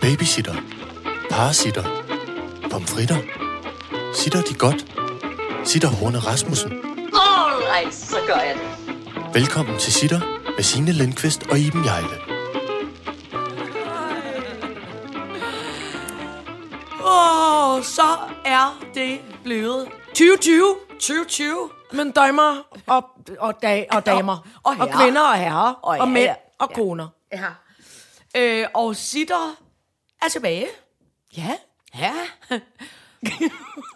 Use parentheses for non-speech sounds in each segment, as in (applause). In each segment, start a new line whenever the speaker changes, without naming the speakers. Babysitter. Parasitter. Pomfritter. Sitter de godt? Sitter Horne Rasmussen.
Alright, så gør jeg det.
Velkommen til Sitter med Signe Lindqvist og Iben Jejle.
Åh, oh, så er det blevet 2020. 2020. Men dømmer og, og, dag, og damer.
Og- og
og
herrer.
kvinder og herrer.
Og
Og, og mænd
ja,
og
ja.
koner.
Ja.
Øh, og sitter er tilbage. Ja.
Ja.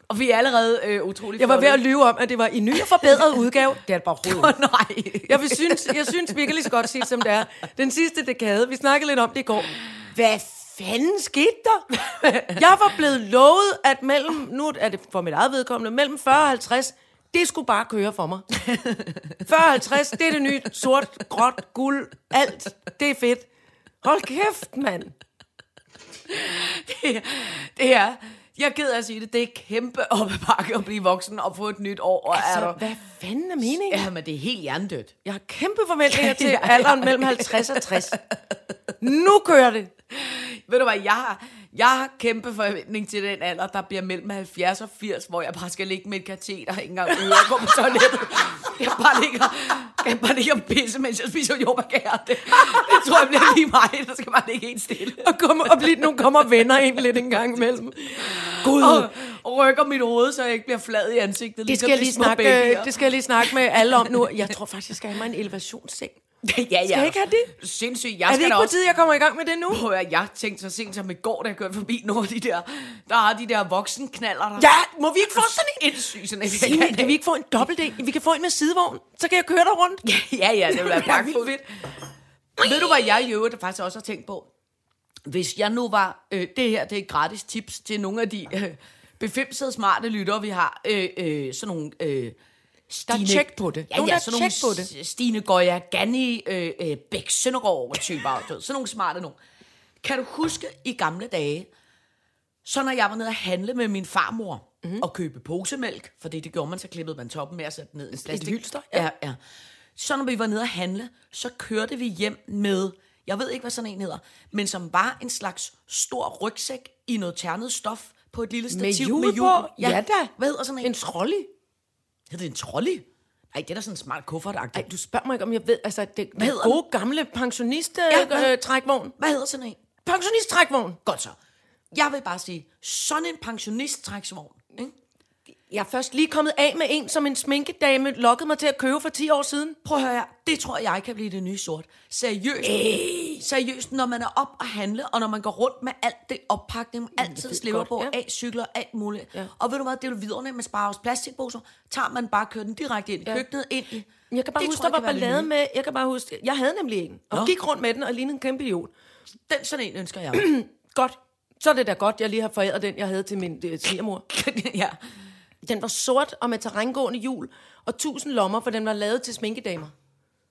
og vi er allerede øh, utroligt
Jeg var ved at
flotte.
lyve om, at det var i ny og forbedret
(laughs)
udgave. Det er det bare overhovedet ikke.
Nej.
jeg, vil synes, jeg synes, vi kan lige så godt sige, det, som det er. Den sidste dekade, vi snakkede lidt om det i går. Hvad fanden skete der? Jeg var blevet lovet, at mellem, nu er det for mit eget vedkommende, mellem 40 og 50, det skulle bare køre for
(laughs)
mig. 40 og 50, det er det nye sort, gråt, guld, alt. Det er fedt. Hold kæft, mand.
Det er, jeg gider at sige det, det er kæmpe op ad bakke at blive voksen og få et nyt år. Og er
Altså,
du...
hvad fanden er meningen?
Ja, men det er helt hjernedødt.
Jeg har kæmpe forventninger
Ja,
til
ja, ja.
alderen mellem 50 og 60. Nu kører det.
Ved du hvad, jeg har, jeg har kæmpe forventning til den alder, der bliver mellem 70 og 80, hvor jeg bare skal ligge med et kateter, ikke engang ude og gå på toilettet. Jeg bare ligger, jeg bare ligger og pisse, mens jeg spiser jordbærkager. Det, det tror jeg bliver lige mig, der skal bare ligge helt stille.
Og, komme, og blive, nu kommer venner ind lidt en gang imellem. Gud,
Og, og rykker mit hoved, så jeg ikke bliver flad i ansigtet. ligesom
det skal, jeg lige snakke, øh, det skal jeg lige snakke med alle om nu. Jeg tror faktisk, jeg skal have mig en elevationsseng.
ja, ja.
Skal jeg ikke have det?
Sindssygt. Jeg
Er
skal
det ikke
da
på
også
tide, jeg kommer i gang med det nu?
Prøv at høre, jeg tænkte så sent som i går, da jeg kørte forbi nogle af de der, der har de der voksenknaller, der...
Ja, må vi ikke få sådan en?
Indsyg, sådan en jeg
Signe,
kan
kan vi ikke få en dobbelt D? Vi kan få en med sidevogn. Så kan jeg køre dig rundt.
ikke? (laughs) Ja, ja, det
(laughs)
ville være
Det er vildt
pragtfuldt. Ved du, hvad jeg i øvrigt faktisk også har tænkt på? Hvis jeg nu var... Øh, det her, det er et gratis tips til nogle af de øh, befimsede smarte lyttere, vi har. Øh, øh, sådan nogle... Øh, Stine,
tjek på det.
Ja,
Nogen,
ja,
der
sådan nogle
tjek på det.
S- Stine Goya, Ganni, øh, øh, Bæk Søndergaard-typer. du ved, sådan nogle smarte nogle. Kan du huske i gamle dage, Så når jeg var nede og handle med min farmor
Mhm.
mm. og købe posemælk, for det, det gjorde man, så klippede man toppen med og satte den ned i en plastik.
hylster,
ja. ja, ja. Så når vi var nede og handle, så kørte vi hjem med, jeg ved ikke, hvad sådan en hedder, men som var en slags stor rygsæk i noget ternet stof på et lille
Med
stativ
jul
med hjul.
på? Ja da.
Hvad hedder sådan en?
En trolley?
Hedder det en trolley? Nej, det er da sådan en smart kuffert
Ej, du spørger mig ikke, om jeg ved. Altså, det, den
hedder
gode gamle pensionist-trækvogn.
Ja,
Øh, trækvogn.
Hvad hedder sådan en?
pensionist-trækvogn.
Godt så. Jeg vil bare sige, sådan en pensionist-træksvogn, ikke?
Jeg er først lige kommet af med en, som en sminkedame lokkede mig til at købe for 10 år siden.
Prøv at høre her. Det tror jeg kan blive det nye sort. Seriøst. Ej. Seriøst, når man er op og handle, og når man går rundt med alt det oppakning, man altid slipper
godt,
på,
ja.
ja. af cykler, alt muligt. Ja. Og ved du hvad, det er jo viderne, man sparer også plastikposer, tager man bare og kører den direkte ind i ja. køkkenet, ind i...
Men Jeg kan bare
Det
det huske,
tror
der
jeg
var
kan være det
ballade
nye.
med... Jeg kan bare huske... Jeg havde nemlig en, og
Nå.
gik rundt med den og lignede en kæmpe idiot.
Den sådan en
(clears throat)
ønsker jeg.
Godt. Så er det da godt, jeg lige har foræret den, jeg havde til min øh,
(laughs)
svigermor.
ja.
Den var sort og med terrængående hjul og tusind lommer, for den var lavet til sminkedamer.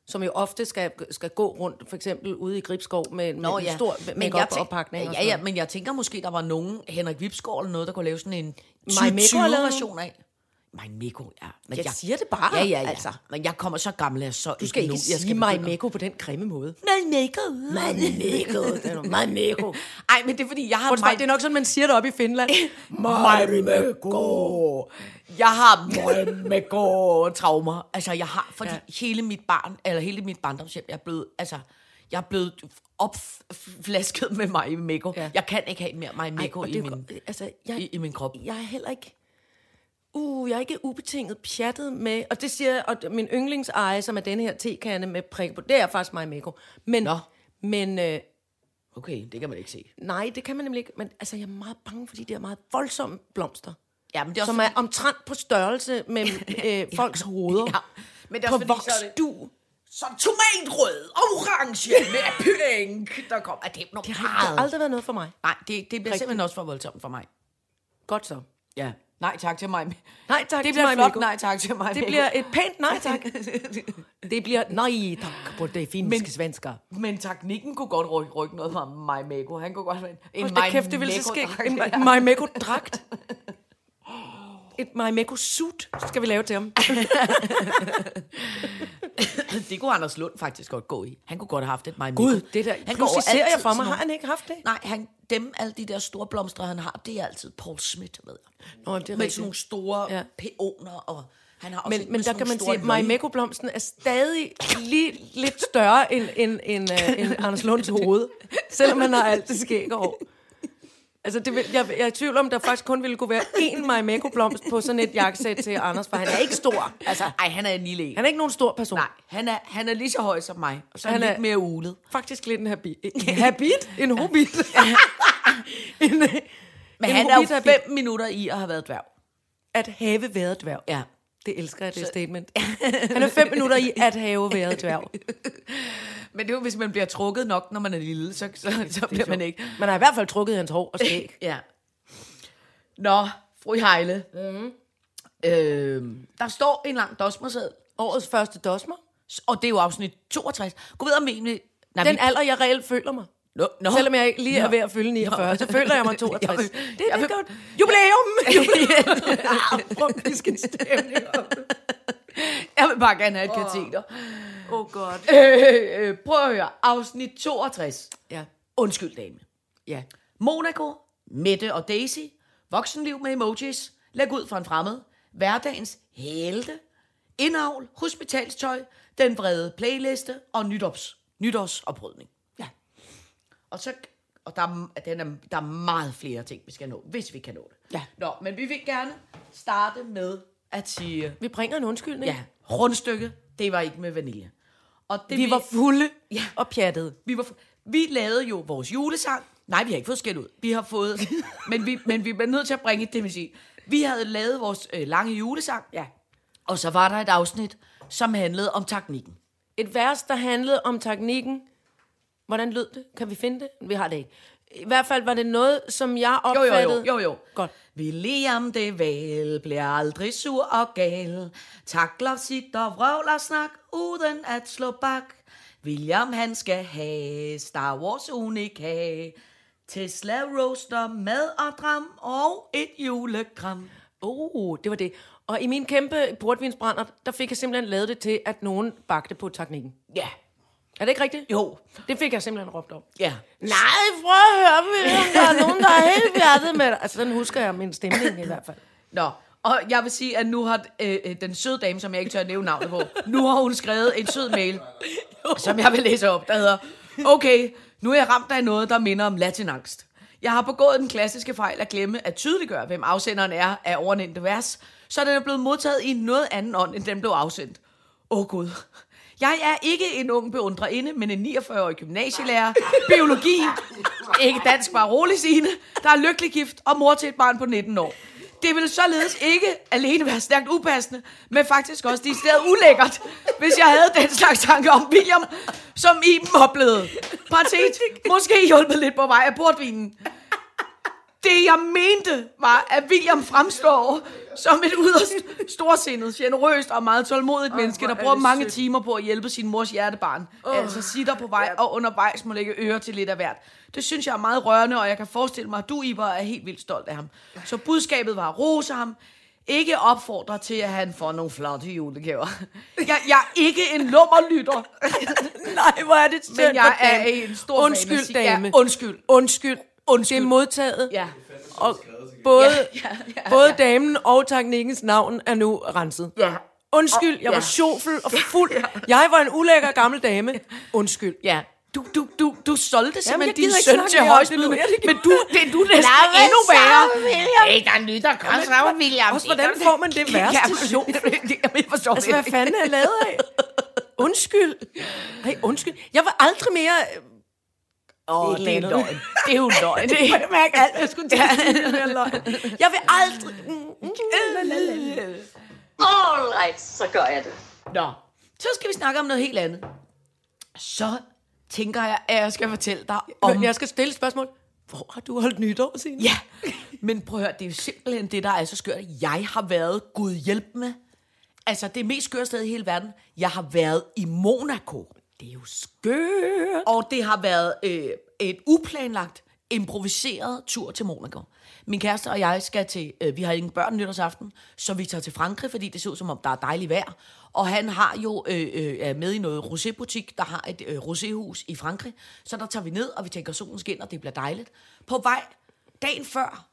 Som jo ofte skal, skal gå rundt, for eksempel ude i Gribskov med, med en stor
jeg
make-up
tænk-
oppakning. og
Ja,
sådan
ja,
noget.
men jeg tænker måske, der var nogen, Henrik Vipsgaard eller noget, der kunne lave sådan en
Mai Mekko har lavet
20-version af. Mig Mikko, ja. Men
Jeg siger det bare,
Ja, ja, ja.
altså.
Altså. Men jeg kommer så gammel, jeg er så
Du skal ikke sige mig meko på den grimme måde.
My Mikko.
My Mikko.
(laughs)
Det er noget, My Mikko.
Ej, men det er fordi, jeg har...
Undskyld,
mig-
det er nok sådan, man siger det op i (laughs) Finland.
mig med gå. Jeg (laughs) har mig med gå traumer. Altså, jeg har, fordi ja. hele mit barn, eller hele mit barndomshjem, jeg er blevet, altså, jeg er blevet opflasket med mig med gå.
Ja.
Ja. Jeg kan ikke have mere mig med
Ej,
gå
og
i
det er
min...
godt. altså, jeg,
i, i min krop.
jeg er heller ikke... Uh, jeg er ikke ubetinget pjattet med... Og det siger jeg, og d- min yndlingseje, som er den her tekande med prik på, det er faktisk mig, Mikko. Men,
Nå.
men øh,
Okay, det kan man ikke se.
nej, det kan man nemlig ikke. Men altså, jeg er meget bange for de der meget voldsomme blomster,
Ja, men det er
som er omtrent på størrelse (laughs) med øh, folks hoveder.
Ja. Men det er
på
også fordi, så er det-
voksdu.
så tomatrød, orange med pink, der kommer. Ah, Det er nogle
Det har det har aldrig været noget for mig.
Nej, det, det bliver simpelthen også for voldsomt for mig.
Godt så.
Ja. Nej, tak til mig.
Nej, tak
Det
til
bliver
mig,
et flot
Mikko.
nej tak til mig.
Det bliver et pænt nej tak. (laughs) Det bliver nej tak på det finske Men, svensker.
Men teknikken kunne godt rykke, rykke noget fra mig, Meko. Han kunne godt være en, en
Hold da kæft, det ville så ske. En My Meko-dragt. Et My Meko-suit skal vi lave til ham.
det kunne Anders Lund faktisk godt gå i. Han kunne godt have haft et mig
Gud, det der,
går
han pludselig
altid
ser jeg for
sådan
mig, har
nogle-
han ikke haft det?
Nej, han, dem, alle de der store blomstre, han har, det er altid Paul Schmidt, ved jeg.
Nå, det er
Med
rigtigt.
sådan nogle store
Ja.
ja. peoner, og han har også
Men,
et
men
med
der
sådan
kan man sige,
nogle store
at
løg.
Marimekko-blomsten er stadig lige lidt større end, end, end, øh, end Anders Lunds hoved, selvom han har alt det skæg og hår. Altså, det vil, jeg, jeg er i tvivl om, der faktisk kun ville kunne være én Marimekko-blomst på sådan et jakkesæt til Anders, for han er ikke stor. Altså,
Ej, han er en lille en.
han er ikke nogen stor person.
Nej, han er, han er lige så høj som mig, og så er
Han
han,
er-
lidt mere ulet.
Faktisk lidt en
(laughs)
habit. En habit? En hobbit? en,
Men
en
han er jo
hobbit-habit.
fem minutter i at have været dværg.
At have været dværg.
Ja.
Det elsker jeg, det (laughs) statement. Han er fem minutter i at have været (laughs) dværg.
Men det er jo, hvis man bliver trukket nok, når man er lille, så, så, så bliver man ikke.
Man har i hvert fald trukket hans hår og skæg.
Ja. Nå, fru Heile. Mm. Øhm, der står en lang dosmerseddel,
(laughs) Årets første dosmer.
og det er jo afsnit 62. Gå ved om egentlig... Nej,
Den
vi-
alder, jeg reelt føler mig.
Nå, nå.
Selvom jeg ikke lige er
Nå.
ved at fylde 49, så føler (laughs) jeg
(laughs)
mig 62.
Jeg vil-
Det, det
jeg
er
vil-
godt.
(laughs)
Jubilæum! (laughs) Jubilæum!
Jeg vil bare gerne have et kateter.
Åh, oh godt.
Øh, øh, prøv at høre. Afsnit 62.
Ja.
Undskyld, dame.
ja.
Monaco, Mette og Daisy, voksenliv med emojis, læg ud for en fremmed, hverdagens helte, indavl, hospitalstøj, den brede playliste og nytårs, nytårsoprydning.
Ja.
Og, så, og der, er- den er, der er meget flere ting, vi skal nå, hvis vi kan nå det.
Ja.
Nå, men vi vil gerne starte med at sige,
Vi bringer en undskyldning.
ja, rundstykke, det var ikke med vanilje. Og det
Vi var fulde
Ja.
og pjattede.
vi, var, vi lavede jo vores julesang. Nej, vi har ikke fået skæld ud. Vi har (laughs) fået... men, vi, men vi bliver nødt til at bringe det, vil sige. Vi havde lavet vores øh, lange julesang.
Ja.
Og så var der et afsnit, som handlede om teknikken.
Et vers, der handlede om teknikken. Hvordan lød det? Kan vi finde det? Vi har det ikke. I hvert fald var det noget, som jeg
Jo,
opfattede.
jo, jo, jo, jo.
Godt.
William det vel bliver aldrig sur og gal. Takler sit og vrøvler snak, uden at slå bak. William han skal have Star Wars unika. Tesla roaster, mad og dram og et julekram.
Oh, det var det. Og i min kæmpe portvinsbrænder, der fik jeg simpelthen lavet det til, at nogen bagte på teknikken.
Ja,
Er det ikke rigtigt?
jo,
Det fik jeg simpelthen råbt om.
ja.
Nej, prøv at høre, William. Der (laughs) er nogen, der er helt hjertet med dig. Altså, den husker jeg min stemning i hvert fald.
Nå, og jeg vil sige, at nu har øh, øh, den søde dame, som jeg ikke tør nævne navnet på, nu har hun skrevet en sød mail, som jeg vil læse op, der hedder, okay, nu er jeg ramt af noget, der minder om latinangst. Jeg har begået den klassiske fejl at glemme at tydeliggøre, hvem afsenderen er af overnævnte vers, så den er blevet modtaget i en noget anden ånd, end den blev afsendt. Åh oh, Gud. Jeg er ikke en ung beundrerinde, men en 49-årig gymnasielærer, biologi, ikke dansk, bare rolig Signe, der er lykkelig gift og mor til et barn på 19 år. Det vil således ikke alene være stærkt upassende, men faktisk også decideret ulækkert, hvis jeg havde den slags tanker om William, som Iben oplevede. Partit, måske hjulpet lidt på vej af portvinen. Det jeg mente var, at William fremstår som et yderst storsindet, generøst og meget tålmodigt oh, menneske, der
hvor er
bruger
det
mange
sødt.
timer på at hjælpe sin mors hjertebarn. Oh, altså sitter på vej og undervejs må lægge ører til lidt af hvert. Det synes jeg er meget rørende, og jeg kan forestille mig, at du, Iber, er helt vildt stolt af ham. Så budskabet var at rose ham, ikke opfordre til, at han får nogle flotte julegaver. Jeg, jeg er ikke en
(laughs)
lummerlytter,
(laughs) Nej, hvor er det synd
men jeg
for
er
damen.
en stor
Undskyld,
fan af-
dame.
Ja, undskyld.
undskyld. Undskyld. Det er modtaget.
Ja.
Og både, ja, ja, ja. både damen og teknikkens navn er nu renset.
Ja.
Undskyld, jeg
Ja.
var sjofel og fuld. Jeg var en ulækker gammel dame. Undskyld.
Ja. Du, du, du, du solgte
jeg
simpelthen din
gider ikke
søn
snakke
til
mere om det
højsbyd,
nu. Ja, det
men du, det, du er næsten
Lad
endnu værre.
Ikke der er nyt, der kommer så William.
Også hvordan får man det værste
(laughs) Ja,
til
men-
sjofel?
Jamen, jeg forstår
Altså,
det
hvad
ikke.
fanden er jeg lavet af? Undskyld. Hey, undskyld. Jeg var aldrig mere... øh,
Åh,
et
det er
eller andet.
løgn. Det er jo løgn. Det er
Jeg mærker alt, jeg skulle til at sige, det er altså løgn. Jeg vil aldrig...
Alright, så gør jeg det.
Nå, så skal vi snakke om noget helt andet. Så tænker jeg, at jeg skal fortælle dig om...
Om. Jeg skal stille et spørgsmål. Hvor har du holdt nytår, Signe?
Ja, men prøv at høre, det er jo simpelthen det, der er så skørt. Jeg har været, Gud hjælp med, altså det mest skøre sted i hele verden, jeg har været i Monaco.
Det er jo skørt.
Og det har været øh, et uplanlagt improviseret tur til Monaco. Min kæreste og jeg skal til, øh, vi har ingen børn nytårsaften, så vi tager til Frankrig, fordi det ser ud som om, der er dejligt vejr. Og han har jo øh, øh, er med i noget rosébutik, der har et øh, roséhus i Frankrig. Så der tager vi ned, og vi tænker, solen skinner, det bliver dejligt. På vej dagen før,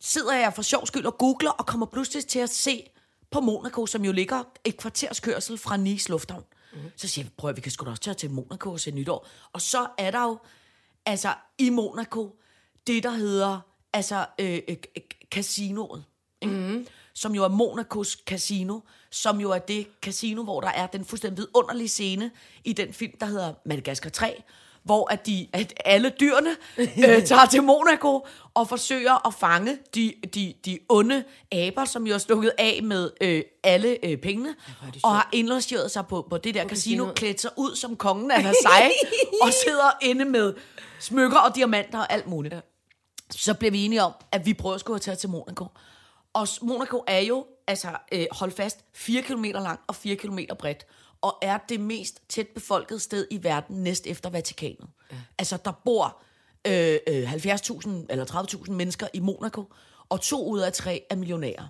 sidder jeg for sjov skyld og googler, og kommer pludselig til at se på Monaco, som jo ligger et kvarters kørsel fra Nice Lufthavn. Mm. Så siger jeg, prøv at vi kan sgu da også tage til Monaco og se nytår. Og så er der jo, altså i Monaco, det der hedder, altså øh, øh, øh, casinoet. Mm. Som jo er Monacos casino, som jo er det casino, hvor der er den fuldstændig vidunderlige scene i den film, der hedder Madagaskar 3, hvor at, de, at alle (laughs) dyrene øh, tager til Monaco og forsøger at fange de, de, de onde aber, som jo er stukket af med øh, alle øh, pengene, og har indlogeret sig på, på det der casino,
casinoet.
klædt sig ud som kongen af Versailles, og sidder inde med smykker og diamanter og alt muligt. Ja. Så blev vi enige om, at vi prøver at skulle have taget til Monaco. Og s- Monaco er jo, altså øh, hold fast, 4 km lang og 4 km bredt. Og er det mest tæt befolkede sted i verden, næst efter Vatikanet. Ja. Altså der bor øh, øh, 70.000 eller 30.000 mennesker i Monaco, og to ud af tre er millionærer.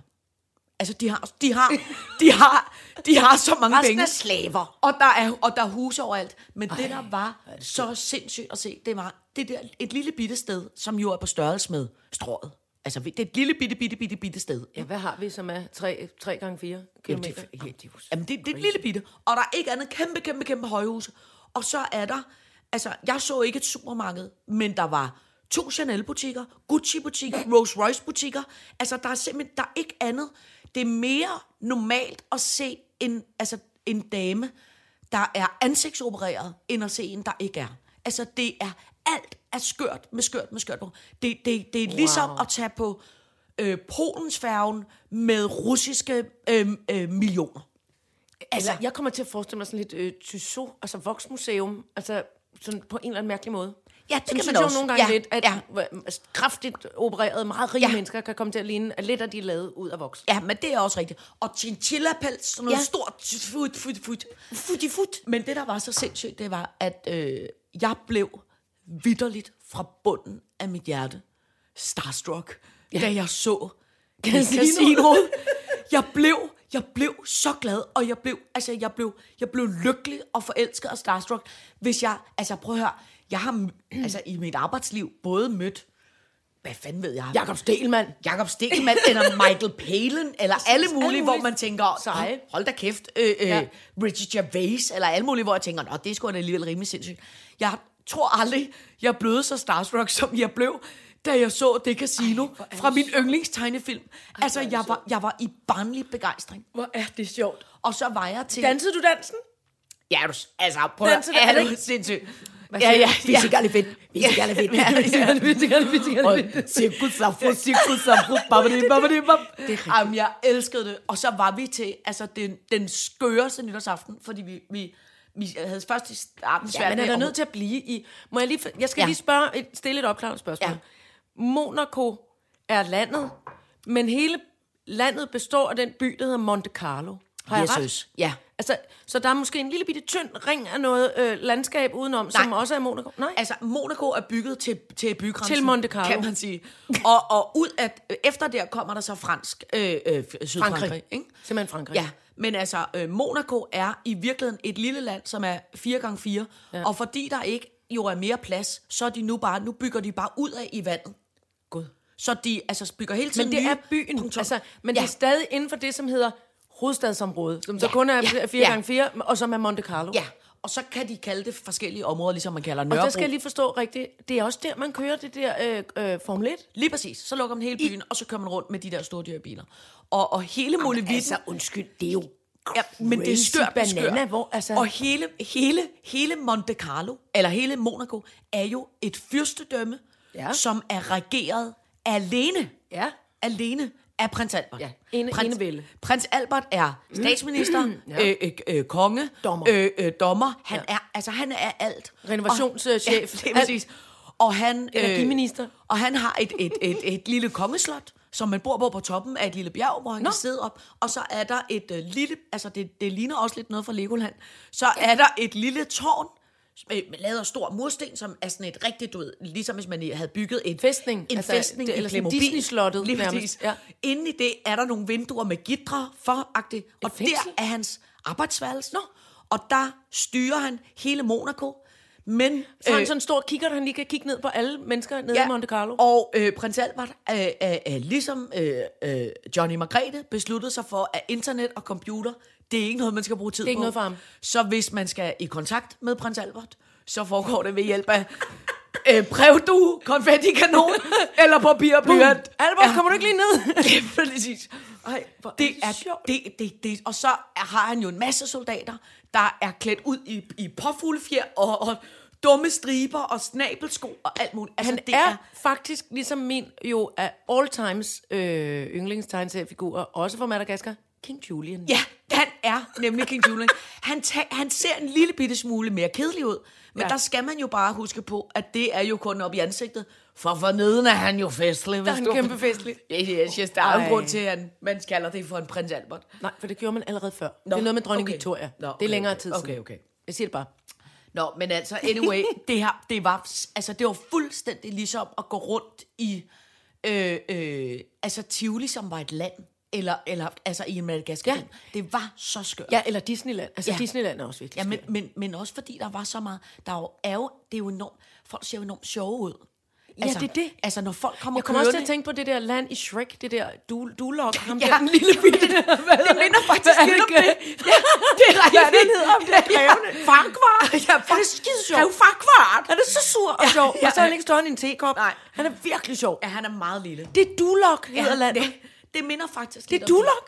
Altså, de har,
(laughs)
de har, de har, de har så mange
Resten
penge.
er slaver.
Og der er, og der er huse overalt. Men Ej, det, der var så sindssygt at se, det var det der, et lille bitte sted, som jo er på størrelse med strået. Altså, det er et lille bitte, bitte, bitte, bitte sted.
Ja, hvad har vi, som er 3, 3 gange 4
Jamen,
kilometer?
det, er- ja, jamen, det, det er et lille bitte. Og der er ikke andet kæmpe, kæmpe, kæmpe højhus. Og så er der... Altså, jeg så ikke et supermarked, men der var to Chanel-butikker, Gucci-butikker, Rolls-Royce-butikker. Altså, der er simpelthen der er ikke andet. Det er mere normalt at se en, altså, en dame, der er ansigtsopereret, end at se en, der ikke er. Altså, det er alt er skørt med skørt med skørt på. Det, det, det er ligesom wow. at tage på øh, Polensfærgen med russiske øh, øh, millioner.
Altså, jeg kommer til at forestille mig sådan lidt øh, Thysso, altså voksmuseum, altså sådan på en eller anden mærkelig måde.
Ja, det
Sådan
kan
synes
man
jeg jo
også.
nogle gange
Ja,
lidt, at
ja.
ja. kraftigt opererede, meget rige
Ja.
ja. mennesker kan komme til at ligne, at lidt af de er lavet ud af voks.
Ja, men det er også rigtigt. Og chinchilla-pels, sådan noget ja.
Ja.
stort fut, fut, fut. Fut, fut. Men det, der var så sindssygt, det var, at øh, jeg blev vidderligt fra bunden af mit hjerte starstruck, ja. da jeg så
Casino.
casino. (laughs) Jeg blev, jeg blev så glad, og jeg blev, altså, jeg blev, jeg blev lykkelig og forelsket og starstruck. Hvis jeg, altså prøv at høre, jeg har m- altså, i mit arbejdsliv både mødt, hvad fanden ved jeg?
Jakob Stelmann.
Jakob Stikkelmann eller Michael Palin, eller alle mulige, alle
mulige
hvor man tænker,
seje.
"Nå, hold da kæft, øh, øh, ja.
Ja.
Richard Gervais, eller alle mulige, hvor jeg tænker, nå, det skulle da alligevel rimelig sindssygt. Jeg tror aldrig, jeg blev så starstruck, som jeg blev, da jeg så det casino Ej, fra min yndlingstegnefilm. Ej, altså, jeg var, jeg var i barnlig begejstring.
Hvor er det sjovt.
Og så var jeg til...
Dansede du (laughs) dansen?
Ja, er du, s- altså, prøv at
Danser
høre, er
du?
du sindssygt.
siger
Ja,
du?
ja,
Vi skal
gerne fedt. Vi skal gerne fedt. (laughs) Og cirkus, safro, cirkus, safro, babadi, babadi, bab. Jamen, jeg elskede det. Og så var vi til altså, den, den skøreste nytårsaften, fordi vi, vi, vi havde først i starten
Ja,
svært
man er da
at-
nødt til at blive i... Må jeg, lige, f- jeg skal
Ja.
ja. lige spørge et, stille et opklarende spørgsmål.
Ja.
Ja. Monaco er landet, men hele landet består af den by, der hedder Monte Carlo. Har jeg
Jesus.
ret?
Ja.
Altså, så der er måske en lille bitte tynd ring af noget øh, landskab udenom, Nej. som også er Monaco? Nej.
Altså, Monaco er bygget til, til bygrænsen.
Til Monte Carlo.
Kan man sige. Og, og ud af, efter der kommer der så fransk, øh, øh, Sydfrankrig. Frankrig. Ikke?
Simpelthen Frankrig.
Ja, men altså, øh, Monaco er i virkeligheden et lille land, som er 4x4, ja. og fordi der ikke jo er mere plads, så er de nu bare, nu bygger de bare ud af i vandet.
Gud.
Så de altså bygger hele tiden
Men det
nye
er byen.
punkter.
Altså, men
ja.
ja. det er stadig inden for det, som hedder hovedstadsområdet, som så
Ja,
kun er
ja,
4x4,
ja.
og som er Monte Carlo.
Ja, og så kan de kalde det forskellige områder, ligesom man kalder
Og
Nørrebro.
der skal jeg lige forstå rigtigt, det er også der, man kører det der øh, øh, Formel 1.
Lige præcis. Så lukker man hele byen, I... og så kører man rundt med de der store dyrebiler. Og, og hele muligvis... Altså,
undskyld, det er jo
Ja, men det er
Crazy
skørt, det er skørt.
banana, hvor, altså-
Og hele, hele, hele Monte Carlo, eller hele Monaco, er jo et fyrstedømme,
Ja.
som er regeret alene.
Ja.
Alene af prins Albert.
Ja, ene-
prins,
enevælde. Mm.
prins Albert er statsminister, ja. øh, øh, øh, konge,
Dommer.
Øh, øh, dommer. Han, ja. er, altså, han er alt.
Renovationschef.
Og, ja, det er præcis. Og han, øh,
Energiminister.
og han har et, et, et, et lille kongeslot, som man bor på på toppen af et lille bjerg, hvor han Nå. kan sidde op. Og så er der et øh, lille, altså det, det ligner også lidt noget fra Legoland, så er der et lille tårn, øh, lavet af stor mursten, som er sådan et rigtigt, du ved, ligesom hvis man i- havde bygget en
Fæstning. Altså,
En altså, fæstning
det-
det,
eller
eller
sådan
i
Disney-slottet
Lige
nærmest,
præcis.
ja.
Ja. Inde i det er der nogle vinduer med gitre for, agtigt, og
fængsel?
der er hans arbejdsværelse. Nå. Og der styrer han hele Monaco. Men øh,
Så har han sådan en stor kigger, han lige kan kigge ned på alle mennesker nede Øh. ja. i Monte Carlo.
Og øh, prins Albert, øh, øh, øh, ligesom øh, øh, Johnny Margrethe, besluttede sig for, at internet og computer, det er ikke noget, man skal bruge tid på.
ikke noget for ham.
Så hvis man skal i kontakt med prins Albert, så foregår det ved hjælp af øh, brevdue,
(laughs)
konfettikanon eller papir og blyant.
Albert, (laughs) ja. altså, kommer du ikke lige
(laughs)
ned?
lige præcis.
Ej, hvor er
Det
det
er,
sjovt.
det, det, det, og så har han jo en masse soldater, der er klædt ud i, i påfuglefjer og, og dumme striber og snabelsko og alt muligt. Altså,
Han
det
er, er faktisk ligesom min jo af all times øh, yndlingstegnseriefigur, også fra Madagaskar, King Julian.
Ja, han er nemlig King Julian. Han, ta- han ser en lille bitte smule mere kedelig ud, men
Ja.
ja. der skal man jo bare huske på, at det er jo kun op i ansigtet, for forneden er han jo festlig.
Der er han kæmpe festlig.
Yes, yes, yes, der er jo
Ej.
en grund til, at han- man kalder det for en prins Albert.
Nej, for det gjorde man allerede før. Nå, det er noget med dronning okay.
okay.
Victoria. Nå, okay,
Nå,
det
okay,
er længere
okay.
tid siden.
Okay, okay.
Jeg siger det bare.
Nå, men altså,
(laughs)
anyway, det, her, det, var, altså, det var fuldstændig ligesom at gå rundt i øh, øh, altså Tivoli, som var et land, eller, eller altså i en Madagaskar.
Ja.
Ja. Det var så skørt.
Ja, eller Disneyland. Altså, ja.
Ja.
Disneyland er også virkelig
Ja, men,
skørt.
men, men også fordi der var så meget, der er jo, er jo, det er jo enormt, folk ser jo enormt sjove ud. Ja,
det er det.
Altså, når folk kommer
Jeg kommer også til at
kørende-
tænke på det der land i Shrek, det der du,
(laughs)
dulok, ham
Ja.
der, den lille bitte.
det minder faktisk
Hvad er
lidt om
det?
det. Ja, det er rigtigt.
Hvad er det, den hedder? Om det er krævende.
Farkvart. Ja,
Er det skide sjovt?
Grev Farkvart.
Han er så sur og
Ja,
sjov,
ja.
og så er han ikke større end en tekop.
Nej.
Han er virkelig sjov.
Ja, han er meget lille.
Det er dulok, hedder
Ja,
landet.
det, det minder faktisk
Det er
lidt om
Duloc.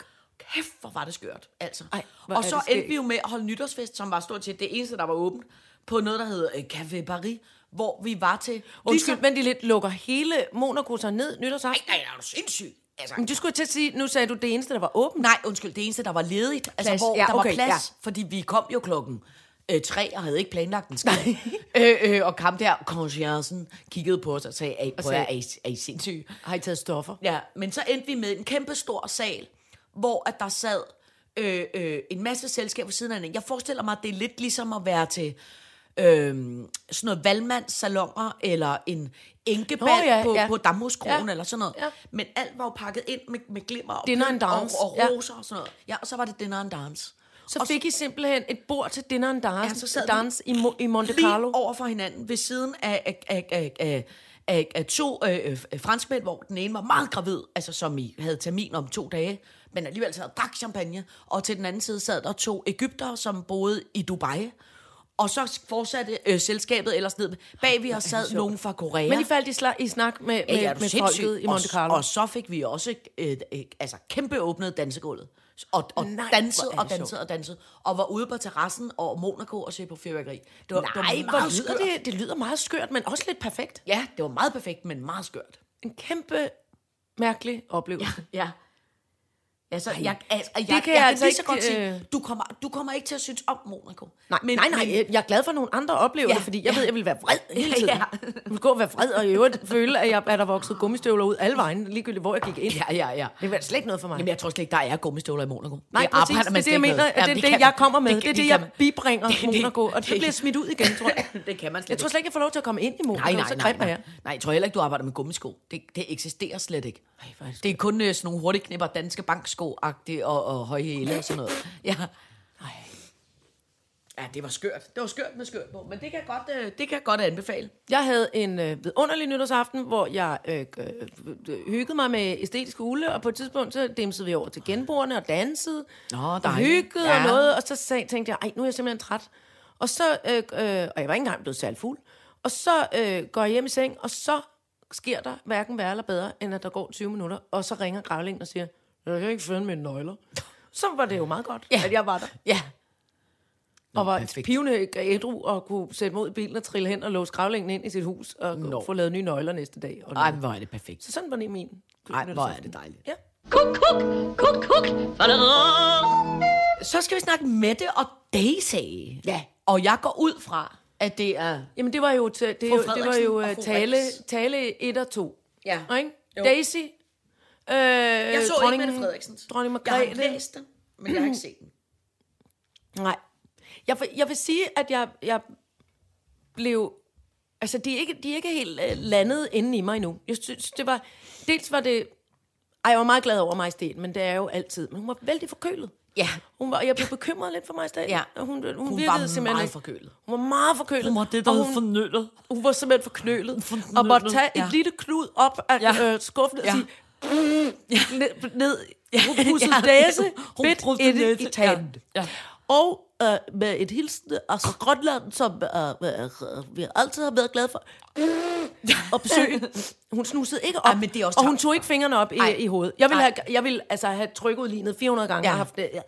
Kæft, hvor var det skørt, altså.
Ej, hvor er
og så
det skægt.
endte vi jo med at holde nytårsfest, som var stort set det eneste, der var åbent, på noget, der hed øh, Café Paris, hvor vi var til...
Undskyld,
ligesom-
men de lidt lukker hele Monaco sig ned nytårsaften.
Nej, nej, er du sindssyg? Altså,
Men du skulle til at sige, nu sagde du det eneste, der var åbent.
Nej, undskyld, det eneste, der var ledigt, plads.
Plads,
altså hvor
ja,
ja, der
okay,
var plads, ja. fordi vi kom jo klokken øh, tre og havde ikke planlagt en skid. øh, øh, og kam der, conciergen, kiggede på os og sagde, "Ej, prøv at
sagde-
høre, er, I- er I sindssyge?
Har I taget stoffer?
Ja, men så endte vi med en kæmpe stor sal, hvor at der sad øh, øh, en masse selskaber ved siden af hinanden. Jeg forestiller mig, at det er lidt ligesom at være til øh, sådan noget valgmandssalonger, eller en enkebal
Nå,
oh,
ja,
ja, på,
ja.
ja. på Damhuskronen,
Ja.
ja. eller sådan noget.
Ja.
Ja. Men alt var jo pakket ind med, med glimmer og,
Dinner
pynt
and dance,
og, og
ja.
roser og sådan noget. Ja, og så var det dinner and dance.
Så fik I simpelthen et bord til dinner and dance, ja,
Ja, så sad vi
dance i, Mo- i Monte
lige
Carlo.
over for hinanden ved siden af, af, af, af, af, af, af to øh, øh, øh, franskmænd, hvor den ene var meget gravid, altså som I havde termin om to dage, men alligevel sad og drak champagne, og til den anden side sad der to Ægypter, som boede i Dubai, og så fortsatte øh, selskabet ellers ned. Bag vi har sad nogen fra Korea.
Men I faldt i, sla- i snak med, med,
Ja, er du
med
sindssyg?
folket i Monte Carlo.
Og, og så fik vi også øh, øh, altså kæmpe åbnet dansegulvet. Og, og
Nej,
Nej,
hvor
dansede
er det
og dansede og dansede. Og var ude på terrassen over Monaco og se på fyrværkeri. Det var,
Nej,
det var
hvor
meget
lyder
skørt.
det? Det lyder meget skørt, men også lidt perfekt.
Ja, det var meget perfekt, men meget skørt.
En kæmpe mærkelig oplevelse. Ja.
Ja. Ja, så jeg, altså, jeg,
jeg
jeg, jeg kan
altså
altså lige så
ikke,
godt
øh,
sige, du kommer, du kommer ikke til at synes om Monaco.
Nej, men, nej, nej, jeg- jeg er glad for, at nogle andre oplever ja,
Ja,
det, fordi jeg ja. ved, jeg vil være vred hele tiden. Ja.
Ja.
Jeg vil gå og være vred, og i øvrigt føle, at, jeg, at der voksede gummistøvler ud alle vejen, ligegyldigt hvor jeg gik ind.
Ja, ja, ja.
Det var slet ikke noget for mig.
Jamen, jeg tror slet ikke, der er gummistøvler i Monaco.
Nej, det præcis.
arbejder
Det
man
er det,
slet
jeg mener. at
ikke med.
Det er
Jamen,
det,
kan-
jeg kommer med. Det,
kan-
er det,
kan
jeg bibringer
(laughs) det- det-
Monaco, og så bliver jeg smidt ud igen, tror
(laughs)
jeg.
man- Det kan man slet
Jeg tror slet ikke, jeg får lov til at komme ind i Monaco,
Nej, nej,
så
nej,
greb er
nej.
jeg.
Nej, jeg tror heller ikke, du arbejder med gummisko. Det, det eksisterer slet ikke.
hvor er det
det er kun øh, sådan nogle hurtigt knipper danske banksko-agtige og, og høje hæle og sådan noget. Ja. ja, det var skørt. Det var skørt med skørt på, men det kan jeg godt, øh, det kan jeg godt anbefale.
Jeg havde en øh, vidunderlig nytårsaften, hvor jeg øh, øh, øh, hyggede mig med æstetisk ule, og på et tidspunkt så demsede vi over til genboerne og dansede.
Nå,
og
dejligt.
hyggede ja.
Ja.
og noget, og så sag, tænkte jeg, ej, nu er jeg simpelthen træt. Og så, øh, øh, og jeg var ikke engang blevet særlig fuld, og så øh, går jeg hjem i seng, og så sker der hverken værre eller bedre, end at der går 20 minutter, og så ringer grævlingen og siger, jeg kan ikke finde mine nøgler. Så var det jo meget godt, ja. at jeg var der.
Ja.
Og var
perfekt.
pivende ædru og kunne sætte mod bilen og trille hen og låse gravlængen ind i sit hus og no.
Nå.
få lavet nye nøgler næste dag. Og
Ej, hvor er det perfekt.
Så sådan var det min.
Ej, hvor er det dejligt.
Ja.
Kuk, kuk, kuk, kuk.
Så skal vi snakke Mette og Daisy.
Ja.
Og jeg går ud fra, at det er...
Jamen det var jo, t- det, er
Fru
jo, det var
Frederiksen
jo
og
øh,
fru
tale,
Brix.
tale 1 og 2.
Ja.
Ikke?
Jo.
Daisy. Øh, jeg
så
dronning,
ikke Mette Frederiksens.
Dronning
Jeg
Margrethe.
har læst den, men jeg har ikke set den.
Nej. Jeg, vil- jeg vil sige, at jeg, jeg, blev... Altså, de er ikke, de er ikke helt øh, landet inde i mig endnu. Jeg synes, det var... Dels var det... Ej, jeg var meget glad over majestæten, men det er jeg jo altid. Men hun var vældig forkølet.
(clears throat) Ja.
Hun var, jeg blev bekymret lidt for majestæten.
Ja.
Og Hun, hun, hun,
var
virkede simpelthen
meget
ikke-
forkølet.
(laughs) Hun var meget forkølet.
Hun var det, der
Og
hed
hun-
fornyttet.
hun var simpelthen forknølet,
Forknølet,
og måtte tage
ja.
et lille klud op af
Ja.
ja. øh, skuffen og
Ja.
sige, mm, ned, ned hun (laughs) pussede
Ja.
næse,
Hun
midt
pudsede
inde
næse,
i tanden.
ja. Ja.
Og øh, med et hilsen, altså Grønland, som øh, øh, vi altid har været glade for, og besøge. Hun snusede ikke op,
Ej, men det er også
og hun
tavs.
tog ikke fingrene op i,
Ej.
i hovedet. Jeg ville,
Ej.
have, jeg ville altså have trykket lignet 400 gange,
Ja.
ja. og haft det, ja,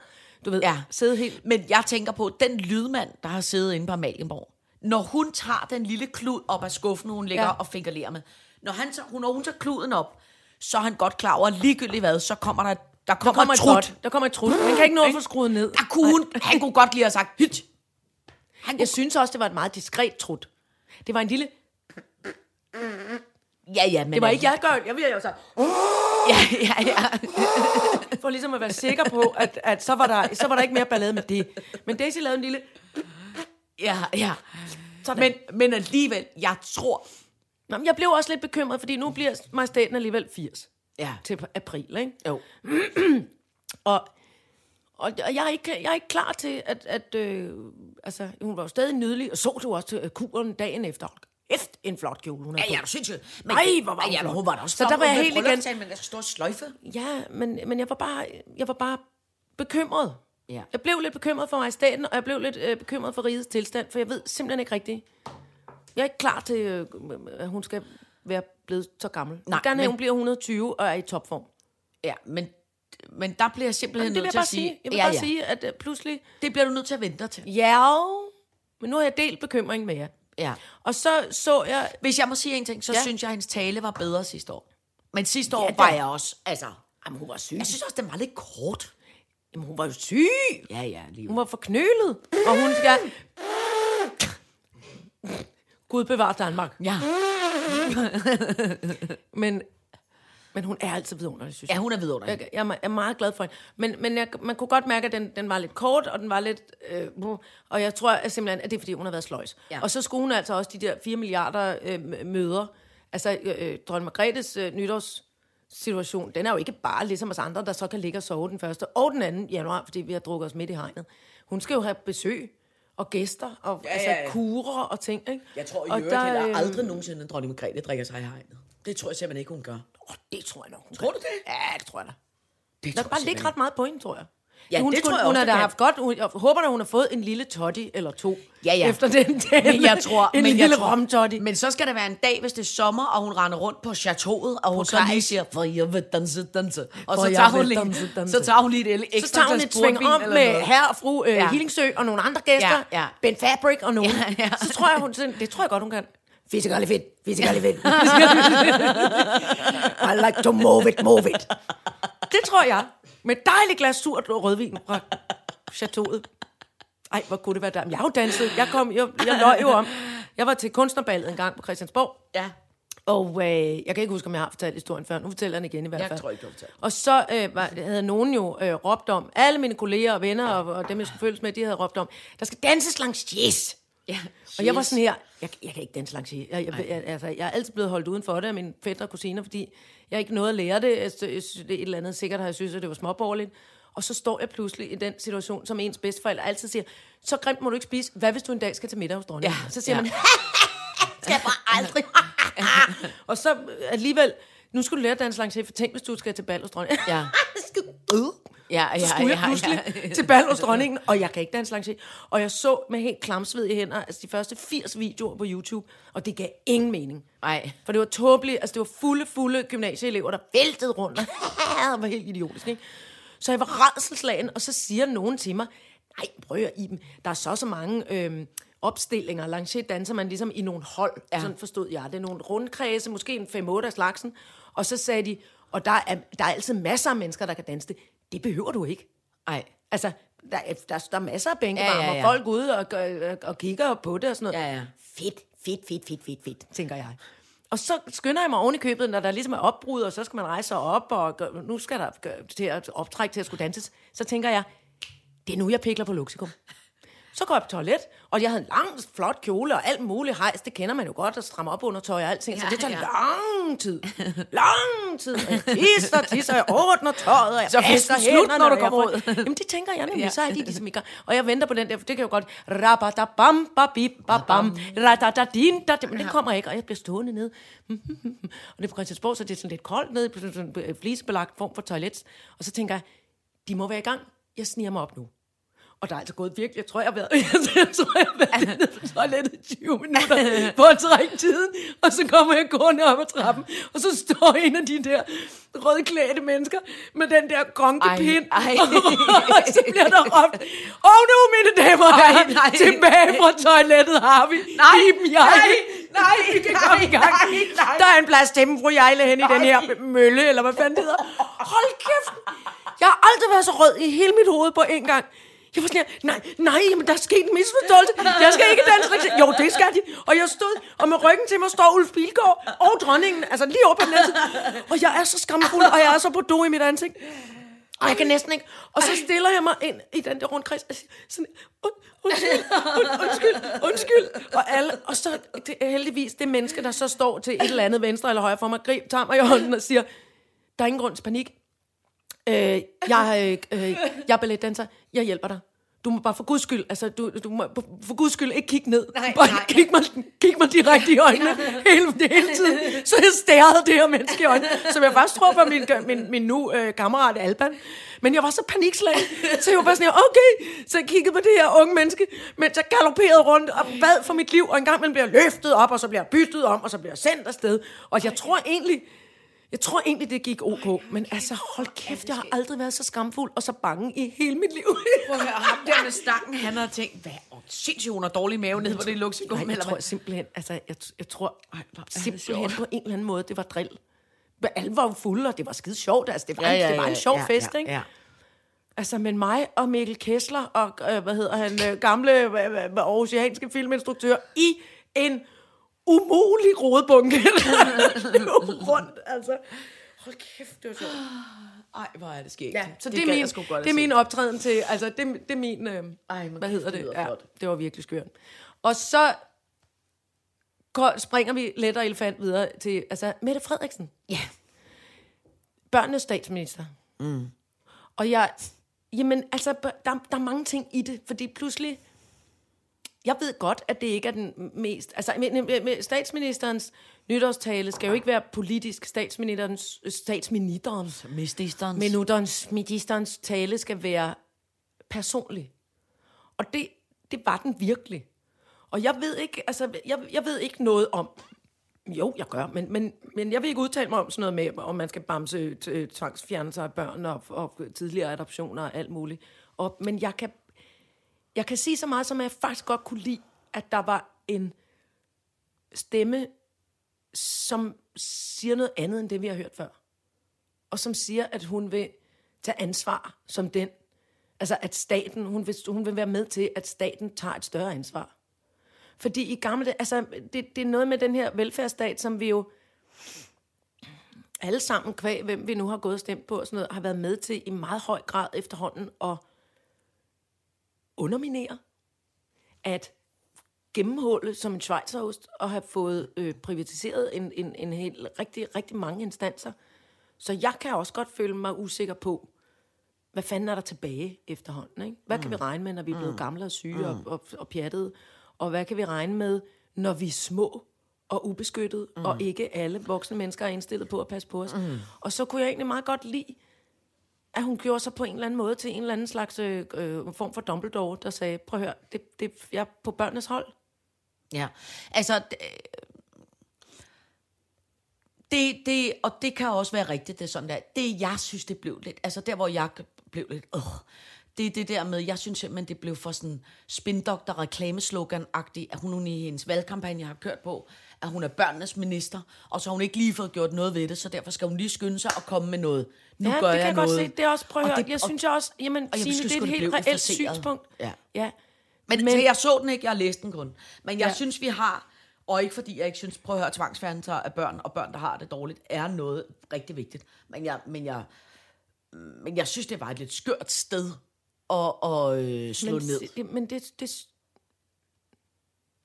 du ved,
Ja.
(laughs) ja. sidde helt...
Men jeg tænker på, den lydmand, der har siddet inde på Amalienborg, når hun tager den lille klud op af skuffen, hun ligger ja.
Ja.
og fingerlerer med, når, han så, hun, når hun tager kluden op, så er han godt klar over, ligegyldigt hvad, så kommer der, der kommer,
Der kommer et
et trut.
godt. Der kommer et trut. Man kan ikke nå at få skruet ned.
Der kunne hun, han kunne godt lige have sagt, hyt. Han kunne,
Jeg synes også, det var et meget diskret trut. Det var en lille...
ja, ja, men
Det var
altså-
ikke, jeg gør Jeg vil jo så...
Ja, ja, ja.
For ligesom at være sikker på, at, at så, var der, så var der ikke mere ballade med det. Men Daisy lavede en lille...
ja, ja.
Sådan.
Men, men alligevel, jeg tror...
Nå, men jeg blev også lidt bekymret, fordi nu bliver majestæten alligevel 80
Ja.
til april, ikke?
Jo.
(clears throat) Og, og jeg, er ikke, jeg er ikke klar til, at... at øh, altså, hun var jo stadig nydelig, og så du også til øh, kuren dagen efter. Efter en flot kjole, hun havde
Ja,
på.
ja, er du sindssygt?
Nej, hvor var hun
ja,
flot.
hun var da også
Så der
flot.
var jeg
Hun
helt
havde
igen-
bryllupsdagen med den der store sløjfe.
Ja, men, men jeg, var bare, jeg var bare bekymret.
Ja.
Jeg blev lidt bekymret for mig i staten, og jeg blev lidt øh, bekymret for rigets tilstand, for jeg ved simpelthen ikke rigtigt. Jeg er ikke klar til, øh, at hun skal være blevet så gammel. Nej,
Nej,
jeg vil gerne have, at
men-
hun bliver 120 og er i topform.
Ja, men, men der bliver jeg simpelthen
Jamen, det vil jeg
nødt til at
bare
sige...
sige. Jeg vil
ja,
bare
ja.
sige, at øh, pludselig...
Det bliver du nødt til at vente dig til.
Ja, men nu har jeg delt bekymring med jer.
Ja.
Og så så jeg...
Hvis jeg må sige en ting, så ja.
Ja.
synes jeg, at hendes tale var bedre sidste år. Men sidste år ja,
det-
var jeg også, altså...
Jamen, hun var syg.
Jeg synes også, den var lidt kort.
Jamen, hun var jo syg.
Ja, ja, lige.
Hun var forknølet, og hun skal... Gud bevarer Danmark.
Ja.
Men, men hun er altid vidunderlig, synes
ja,
jeg.
hun er vidunderlig.
Jeg, jeg er me- er meget glad for hende. Men, men jeg, man kunne godt mærke, at den, den var lidt kort, og den var lidt... Øh, buh. og jeg tror at simpelthen, at det er, fordi hun har været sløjs.
Ja.
Ja. Og så skulle hun altså også de der 4 milliarder øh, m- møder. Altså, øh, øh, dronning Margrethes øh, nytårssituation, den er jo ikke bare ligesom os andre, der så kan ligge og sove den første og den anden januar, fordi vi har drukket os midt i hegnet. Hun skal jo have besøg og gæster, og ja, altså,
ja,
ja,
ja.
kurer og ting, ikke? Og øh,
nogensinde, at dronning Margrethe drikker sig i hegnet. Det tror jeg simpelthen ikke, hun gør.
Åh, det tror jeg nok, hun
Tror du det?
Ja, det tror jeg da.
Det
Der kan bare ligge ret meget på hende, tror jeg.
Ja,
hun
det tror jeg
hun
også,
har
det
da
kan.
haft godt. Hun, jeg håber da, hun har fået en lille toddy eller to.
Ja, ja.
Efter den tale.
Men jeg tror...
en
men
lille
jeg tror-
romtoddy.
Men så skal der være en dag, hvis det er sommer, og hun render rundt på chateauet, og hun så
Kaj.
lige siger, for jeg vil danse, danse. Og
For
så
jeg
tager, hun
vil
lige,
danse, danse.
så tager hun lige et ekstra
Så tager hun
glas
et sving
portvin
om
eller
med
noget.
herre og fru øh,
Ja.
ja. Hillingsø og nogle andre gæster.
Ja, ja.
Ben Fabric og nogen.
(laughs) Ja, ja.
Så tror jeg, hun... sådan- Det tror jeg godt, hun kan. Physically fit. Physically
(laughs)
fit. I like to move it, move it. Det tror jeg. Med et dejligt glas surt rødvin fra chateauet. Ej, hvor kunne det være der. Men Jeg har jo danset. Jeg, kom, jeg, jeg løj jo om. Jeg var til kunstnerballet en gang på Christiansborg.
Ja.
Og øh, jeg kan ikke huske, om jeg har fortalt historien før. Nu fortæller jeg den igen i hvert
Jeg
fald.
tror ikke, du har fortalt
Og så øh, var, havde nogen jo øh, råbt om, alle mine kolleger og venner og, og dem, jeg skulle følges med, de havde råbt om, der skal danses langs yes.
ja.
Og jeg var sådan her, jeg, jeg kan ikke danse langs jeg, jeg, jeg, altså, jeg er altid blevet holdt uden for det af mine fætter og kusiner, fordi jeg ikke nåede at lære det. Jeg, sy- jeg, sy- det er et eller andet sikkert har jeg synes, at det var småborgerligt. Og så står jeg pludselig i den situation, som ens bedsteforældre altid siger, så grimt må du ikke spise. Hvad hvis du en dag skal til middag hos dronningen?
Ja,
så siger
ja. (laughs)
man,
skal jeg bare aldrig. (laughs)
og så alligevel, nu skulle du lære at danse langs for tænk, hvis du skal til bal hos dronningen.
ja. Ja, ja,
Så skulle jeg
ja,
pludselig
(laughs) ja.
til bal hos dronningen, og jeg kan ikke danse langs Og jeg så med helt klamsved i hænder, altså de første 80 videoer på YouTube, og det gav ingen mening.
Nej.
For det var tåbeligt, altså det var fulde, fulde gymnasieelever, der væltede rundt, og (laughs) det var helt idiotisk, ikke? Så jeg var redselslagen, og så siger nogen til mig, nej, prøv at Iben, der er så så mange øhm, opstillinger, lanchet danser man ligesom i nogle hold, ja. sådan forstod jeg det, nogle rundkredse, måske en 5-8 af slagsen, og så sagde de, og der er, der er altid masser af mennesker, der kan danse det, det behøver du ikke.
Ej.
Altså, der, er- der, der er masser af bænkevarmer,
Ja,
ja,
ja,
ja,
ja.
folk ude og, og, og kigger på det og sådan noget.
Ja, ja.
Fedt, fedt, fedt, fedt, fedt, fedt, tænker jeg. Og så skynder jeg mig oven i købet, når der ligesom er opbrud, og så skal man rejse sig op, og gør, nu skal der gør, til at optrække til at skulle danses. Så tænker jeg, det er nu, jeg pikler på Luxikum. Så går jeg på toilet, og jeg havde en lang, flot kjole og alt muligt hejs. Det kender man jo godt, at stramme op under tøj og alting. så
Ja,
det tager
ja.
lang tid. Lang tid. Og jeg tisser, tisser, jeg ordner tøjet, og jeg
Så er festen
vasker
slut,
hænderne,
når du
og jeg
kommer
får-
ud.
(laughs) Jamen, det tænker jeg nemlig.
Ja.
Så er de ligesom i gang. Og jeg venter på den der, for det kan jo godt... Rabadabam, babib, babam, radadadin, da, men den kommer ikke, og jeg bliver stående ned. (laughs) og det er på Christiansborg, så det er sådan lidt koldt ned, på sådan en flisebelagt form for toilet. Og så tænker jeg, de må være i gang. Jeg sniger mig op nu. Og der er altså gået virkelig, jeg tror, jeg har været, (laughs) jeg tror, jeg har været nede på toilettet i 20 minutter på at trække tiden. Og så kommer jeg gående op ad trappen, og så står en af de der rødklædte mennesker med den der gronkepind.
Ej, ej.
(laughs) Og så bliver der råbt, og nu, mine damer og
Ej, nej.
herrer, tilbage fra toilettet har vi.
Nej,
Iben Hjejle.
nej, nej,
vi kan
nej,
komme i gang.
nej, nej.
Der er en plads til dem, fru Jejle, hen i den her mølle, eller hvad fanden det hedder. Hold kæft. Jeg har aldrig været så rød i hele mit hoved på en gang. Jeg var sådan her, nej, nej, jamen der er sket en misforståelse. Jeg skal ikke danse reklam. Jo, det skal de. Og jeg stod, og med ryggen til mig står Ulf Bilgaard og dronningen, altså lige oppe på den anden side. Og jeg er så skamfuld, og jeg er så på do i mit ansigt. Og jeg kan næsten ikke. Og så stiller jeg mig ind i den der rundkreds og siger sådan, und, undskyld, und, undskyld, undskyld. Og, alle, og så det, er heldigvis det menneske, der så står til et eller andet venstre eller højre for mig, grib, tager mig i hånden og siger, der er ingen grund til panik. Øh, jeg, øh, øh, jeg er balletdanser, jeg hjælper dig. Du må bare for guds skyld, altså du, du må for guds skyld ikke kigge ned.
Nej,
bare
nej.
Kig, mig, kig mig direkte i øjnene hele, det hele tiden. Så jeg stærede det her menneske i øjnene, som jeg faktisk tror var min, min, min nu øh, kammerat Alban. Men jeg var så panikslagen, så jeg var bare sådan her, okay. Så jeg kiggede på det her unge menneske, mens jeg galopperede rundt og bad for mit liv. Og en gang man bliver jeg løftet op, og så bliver jeg byttet om, og så bliver jeg sendt afsted. Og jeg tror egentlig, jeg tror egentlig, det gik ok, men altså, hold kæft, jeg har aldrig været så skamfuld og så bange i hele mit liv.
Prøv at høre, ham der med stangen, han har tænkt, hvad er sindssygt, hun har dårlig mave nede på det
(laughs)
luksegum,
Nej, jeg
eller
tror
hvad?
simpelthen, altså, jeg, jeg tror
det
simpelthen
sjovt.
på en eller anden måde, det var drill. Men Alle var jo fulde, og det var skide sjovt, altså, det var, ja, ja, ja, det var en sjov ja, fest, ja, ikke?
Ja.
Altså, men mig og Mikkel Kessler og, øh, hvad hedder han, øh, gamle øh, øh, aarhusianske filminstruktør i en umulig rodebunke. (laughs) Løb rundt, altså. Hold kæft, det var sjovt.
Ej, hvor er det skægt.
Ja, så det,
gad
det,
jeg
er,
sgu
min,
godt
det er
at se.
min optræden til, altså det, det er min, øh,
Ej, men
hvad hedder
det
det?
lyder
Ja,
flot.
det var virkelig skørt. Og så går- springer vi let og elefant videre til, altså Mette Frederiksen,
Ja.
børnenes statsminister. Mm. Og jeg, jamen altså, bør- der, der er mange ting i det, fordi pludselig, jeg ved godt, at det ikke er den mest... Altså, men, men, men statsministerens nytårstale skal jo ikke være politisk. Statsministerens, statsministerens
Mististeren.
men nu Minuterens, ministerens tale skal være personlig. Og det, det var den virkelig. Og jeg ved ikke, altså, jeg, jeg ved ikke noget om... Jo, jeg gør, men, men, men jeg vil ikke udtale mig om sådan noget med, om man skal bamse øh, tvangsfjernelser af børn og, og tidligere adoptioner og alt muligt. Og, men jeg kan, jeg kan sige så meget, som at jeg faktisk godt kunne lide, at der var en stemme, som siger noget andet end det, vi har hørt før og som siger, at hun vil tage ansvar som den. Altså, at staten, hun vil, hun vil være med til, at staten tager et større ansvar. Fordi i gamle dage, altså, det, det er noget med den her velfærdsstat, som vi jo alle sammen, kvæg, hvem vi nu har gået og stemt på og sådan noget, har været med til i meget høj grad efterhånden at underminere, at gennemhullet som en schweizerost og have fået øh, privatiseret en, en, en hel, rigtig, rigtig mange instanser. Så jeg kan også godt føle mig usikker på, hvad fanden er der tilbage efterhånden? Ikke? Hvad
Mm.
kan vi regne med, når vi er blevet gamle og syge og, og, og pjattede? Og hvad kan vi regne med, når vi er små og ubeskyttede, mm. og ikke alle voksne mennesker er indstillet på at passe på os? Mm. Og så kunne jeg egentlig meget godt lide, at hun gjorde sig på en eller anden måde til en eller anden slags øh, øh, form for Dumbledore, der sagde, prøv at høre, det, det, jeg er på børnenes hold.
Ja, altså... d- Det, det, og det kan også være rigtigt, det er sådan der. Det, jeg synes, det blev lidt... Altså, der, hvor jeg blev lidt... Øh, det er det der med, jeg synes simpelthen, det blev for sådan spindokter reklameslogan agtigt at hun nu i hendes valgkampagne har kørt på, at hun er børnenes minister, og så har hun ikke lige fået gjort noget ved det, så derfor skal hun lige skynde sig og komme med noget. Nu
ja, det
gør
kan
jeg
jeg
noget.
godt se. Det er også, prøv at
Og
høre,
det-
jeg
og-
synes også, jamen,
jeg
Signe,
synes
det er
sgu,
et
det
helt
blev
reelt
forseret.
synspunkt.
Ja.
ja.
Men,
Men-
men altså, jeg så den ikke, jeg læste den kun. Men jeg
Ja.
ja. synes, vi har, og ikke fordi jeg ikke synes, prøv at høre, tvangsfjernelser af børn og børn, der har det dårligt, er noget rigtig vigtigt. Men jeg, men jeg, men jeg synes, det var et lidt skørt sted og, og øh, slå
men,
ned.
det, men det, det,